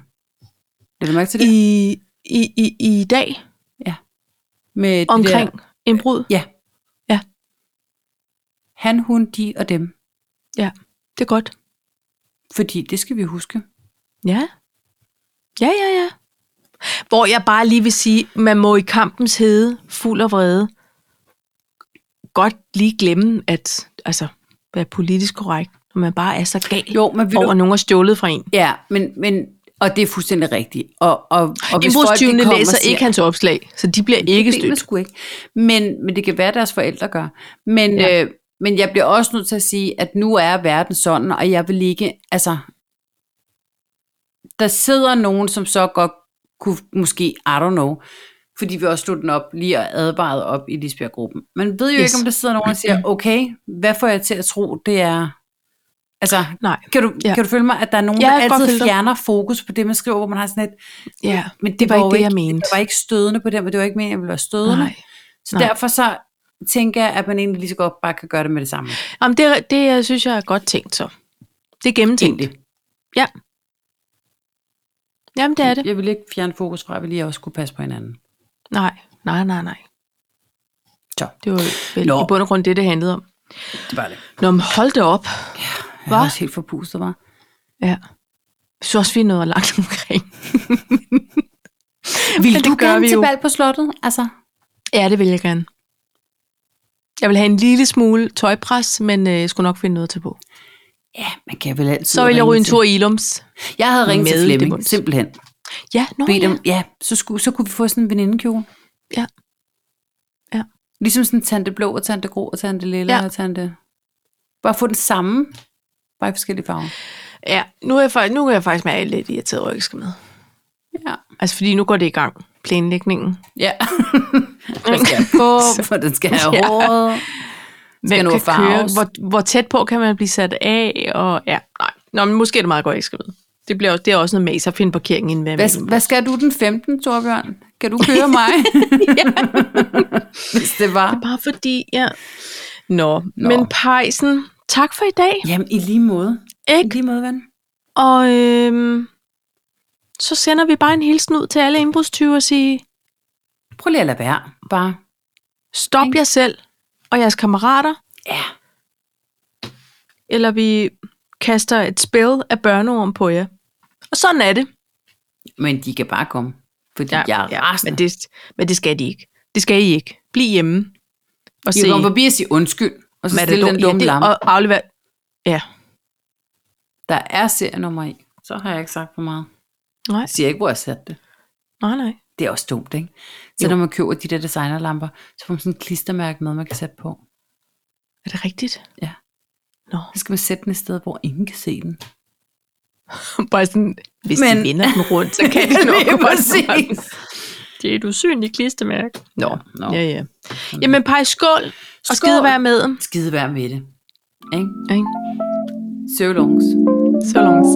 Speaker 1: Lad du mærke til det? I,
Speaker 2: Øh, i, i, i, i dag
Speaker 1: Med det
Speaker 2: omkring
Speaker 1: Der,
Speaker 2: en brud.
Speaker 1: ja.
Speaker 2: Ja.
Speaker 1: Han, hun, de og dem.
Speaker 2: Det er godt.
Speaker 1: Fordi det skal vi huske.
Speaker 2: Ja. Ja, ja, ja. Hvor jeg bare lige vil sige, man må i kampens hede, fuld og vrede, godt lige glemme at altså, være politisk korrekt, når man bare er så gal
Speaker 1: Jo, men vil
Speaker 2: over, at
Speaker 1: du...
Speaker 2: nogen er stjålet fra en.
Speaker 1: Ja, men, men Og det er fuldstændig rigtigt. Og, og, og hvis folk, de
Speaker 2: Indbrudstyvene
Speaker 1: kommer og
Speaker 2: læser
Speaker 1: siger-
Speaker 2: ikke hans opslag, så de bliver ikke
Speaker 1: Det mener
Speaker 2: stødt.
Speaker 1: sgu ikke. Men, men det kan være, at deres forældre gør. Men,
Speaker 2: Ja.
Speaker 1: ja. øh, men jeg bliver også nødt til at sige, at nu er verden sådan, og jeg vil ikke, altså, der sidder nogen, som så godt kunne, måske, I don't know, fordi vi også slog den op lige og advarede op i Lisbjerg-gruppen. Man ved jo yes.
Speaker 2: Yes. Mm-hmm.
Speaker 1: ikke, om der sidder nogen og siger, okay, hvad får jeg til at tro, det er... Altså,
Speaker 2: Nej.
Speaker 1: kan du,
Speaker 2: Ja.
Speaker 1: ja. kan du følge mig, at der er nogen,
Speaker 2: Ja,
Speaker 1: ja, der
Speaker 2: jeg kan godt følge
Speaker 1: altid
Speaker 2: dig.
Speaker 1: fjerner fokus på det, man skriver, hvor man har sådan et,
Speaker 2: Ja,
Speaker 1: men det,
Speaker 2: det var
Speaker 1: var,
Speaker 2: ikke
Speaker 1: jo
Speaker 2: det, jeg mente.
Speaker 1: Det var ikke stødende på den, men det var ikke meningen, at jeg ville være stødende.
Speaker 2: nej.
Speaker 1: Så
Speaker 2: Nej.
Speaker 1: Nej. derfor så tænker jeg, at man egentlig lige så godt bare kan gøre det med det samme.
Speaker 2: Jamen, det, det øh, synes jeg er godt tænkt så. Det er gennemtænkt.
Speaker 1: Egentlig.
Speaker 2: Ja. Jamen, det er det.
Speaker 1: Jeg vil ikke fjerne fokus fra, at vi lige også kunne passe på hinanden.
Speaker 2: Nej, nej, nej, nej.
Speaker 1: Så,
Speaker 2: Det var vel
Speaker 1: Nå.
Speaker 2: i bund og grund det, det handlede om.
Speaker 1: det var det.
Speaker 2: Nå, men hold da op.
Speaker 1: Jeg
Speaker 2: Hva?
Speaker 1: var også helt forpustet, var.
Speaker 2: Ja. Jeg synes også, vi er nået langt omkring.
Speaker 1: Vil
Speaker 2: Men
Speaker 1: du
Speaker 2: det gør
Speaker 1: gerne
Speaker 2: vi
Speaker 1: til
Speaker 2: jo.
Speaker 1: bal på slottet? Altså,
Speaker 2: Ja, det vil jeg gerne. Jeg vil have en lille smule tøjpres, men øh, jeg skulle nok finde noget til på.
Speaker 1: ja, man kan vel altid
Speaker 2: Så vil jeg
Speaker 1: ringe
Speaker 2: ryge en
Speaker 1: til-
Speaker 2: tur i Ilums.
Speaker 1: Jeg havde ringet til
Speaker 2: med
Speaker 1: Flemming,
Speaker 2: Demonst.
Speaker 1: simpelthen.
Speaker 2: Ja, nå
Speaker 1: Bedt
Speaker 2: ja.
Speaker 1: om, ja, så, skulle, så kunne vi få sådan en venindekjole.
Speaker 2: Ja. Ja.
Speaker 1: Ligesom sådan tante blå og tante grå og tante lilla
Speaker 2: Ja.
Speaker 1: ja. og tante... Bare få den samme, bare i forskellige farver.
Speaker 2: ja. Nu er jeg, fa- nu er jeg faktisk med lidt irriteret over, at jeg ikke skal med.
Speaker 1: Ja.
Speaker 2: Altså, fordi nu går det i gang, planlægningen.
Speaker 1: Ja. den skal på, for den skal have
Speaker 2: Ja.
Speaker 1: håret.
Speaker 2: Hvem
Speaker 1: nå
Speaker 2: kan
Speaker 1: at farves?
Speaker 2: køre? Hvor, hvor tæt på kan man blive sat af? Og, ja, nej. Nå, men måske er det meget godt, at jeg ikke skal med. Det, bliver, også- det er også noget mas at finde parkering inden hver
Speaker 1: Hvad, hvad skal du den 15, Torbjørn? Kan du køre mig? Hvis det var.
Speaker 2: Bare fordi, ja. Nå, Nå.
Speaker 1: Nå.
Speaker 2: men Pejsen, tak for i dag.
Speaker 1: Jamen, i lige måde. I
Speaker 2: Ikke?
Speaker 1: lige måde, ven.
Speaker 2: Og øhm, så sender vi bare en hilsen ud til alle indbrudstyve og siger,
Speaker 1: Prøv lige at lade være. Bare.
Speaker 2: stop jer selv og jeres kammerater,
Speaker 1: Ja.
Speaker 2: eller vi kaster et spil af børneorm på jer. Og sådan er det.
Speaker 1: Men de kan bare komme. Fordi ja, jeg er ja,
Speaker 2: men,
Speaker 1: rasende. Det,
Speaker 2: det, men det skal de ikke. Det skal I ikke. Bliv hjemme. Og
Speaker 1: de
Speaker 2: se,
Speaker 1: kan komme forbi og sige undskyld. Og så stille den
Speaker 2: Matador-
Speaker 1: dumme
Speaker 2: ja, det-
Speaker 1: lamme.
Speaker 2: Og aflever. Ja.
Speaker 1: Der er serienummer i. Så har jeg ikke sagt for meget.
Speaker 2: Nej,
Speaker 1: Jeg siger ikke, hvor jeg satte det.
Speaker 2: nej, nej.
Speaker 1: Det er også dumt, ikke? Så
Speaker 2: Jo.
Speaker 1: jo. når man køber de der designerlamper, så får man sådan en klistermærke med, man kan sætte på.
Speaker 2: Er det rigtigt?
Speaker 1: Ja.
Speaker 2: Nå.
Speaker 1: Så skal man sætte den et sted, hvor ingen kan se den.
Speaker 2: Bare sådan, hvis men...
Speaker 1: Men-
Speaker 2: de vender den rundt, så kan de nok
Speaker 1: Lige
Speaker 2: godt
Speaker 1: præcis.
Speaker 2: nå den. Det er et usynligt klistermærke. Nå,
Speaker 1: Nå.
Speaker 2: ja, ja. Jamen, pej, skål, og skide være med.
Speaker 1: Skide være med det. Ikke?
Speaker 2: Ikke?
Speaker 1: So longs.
Speaker 2: Så langt.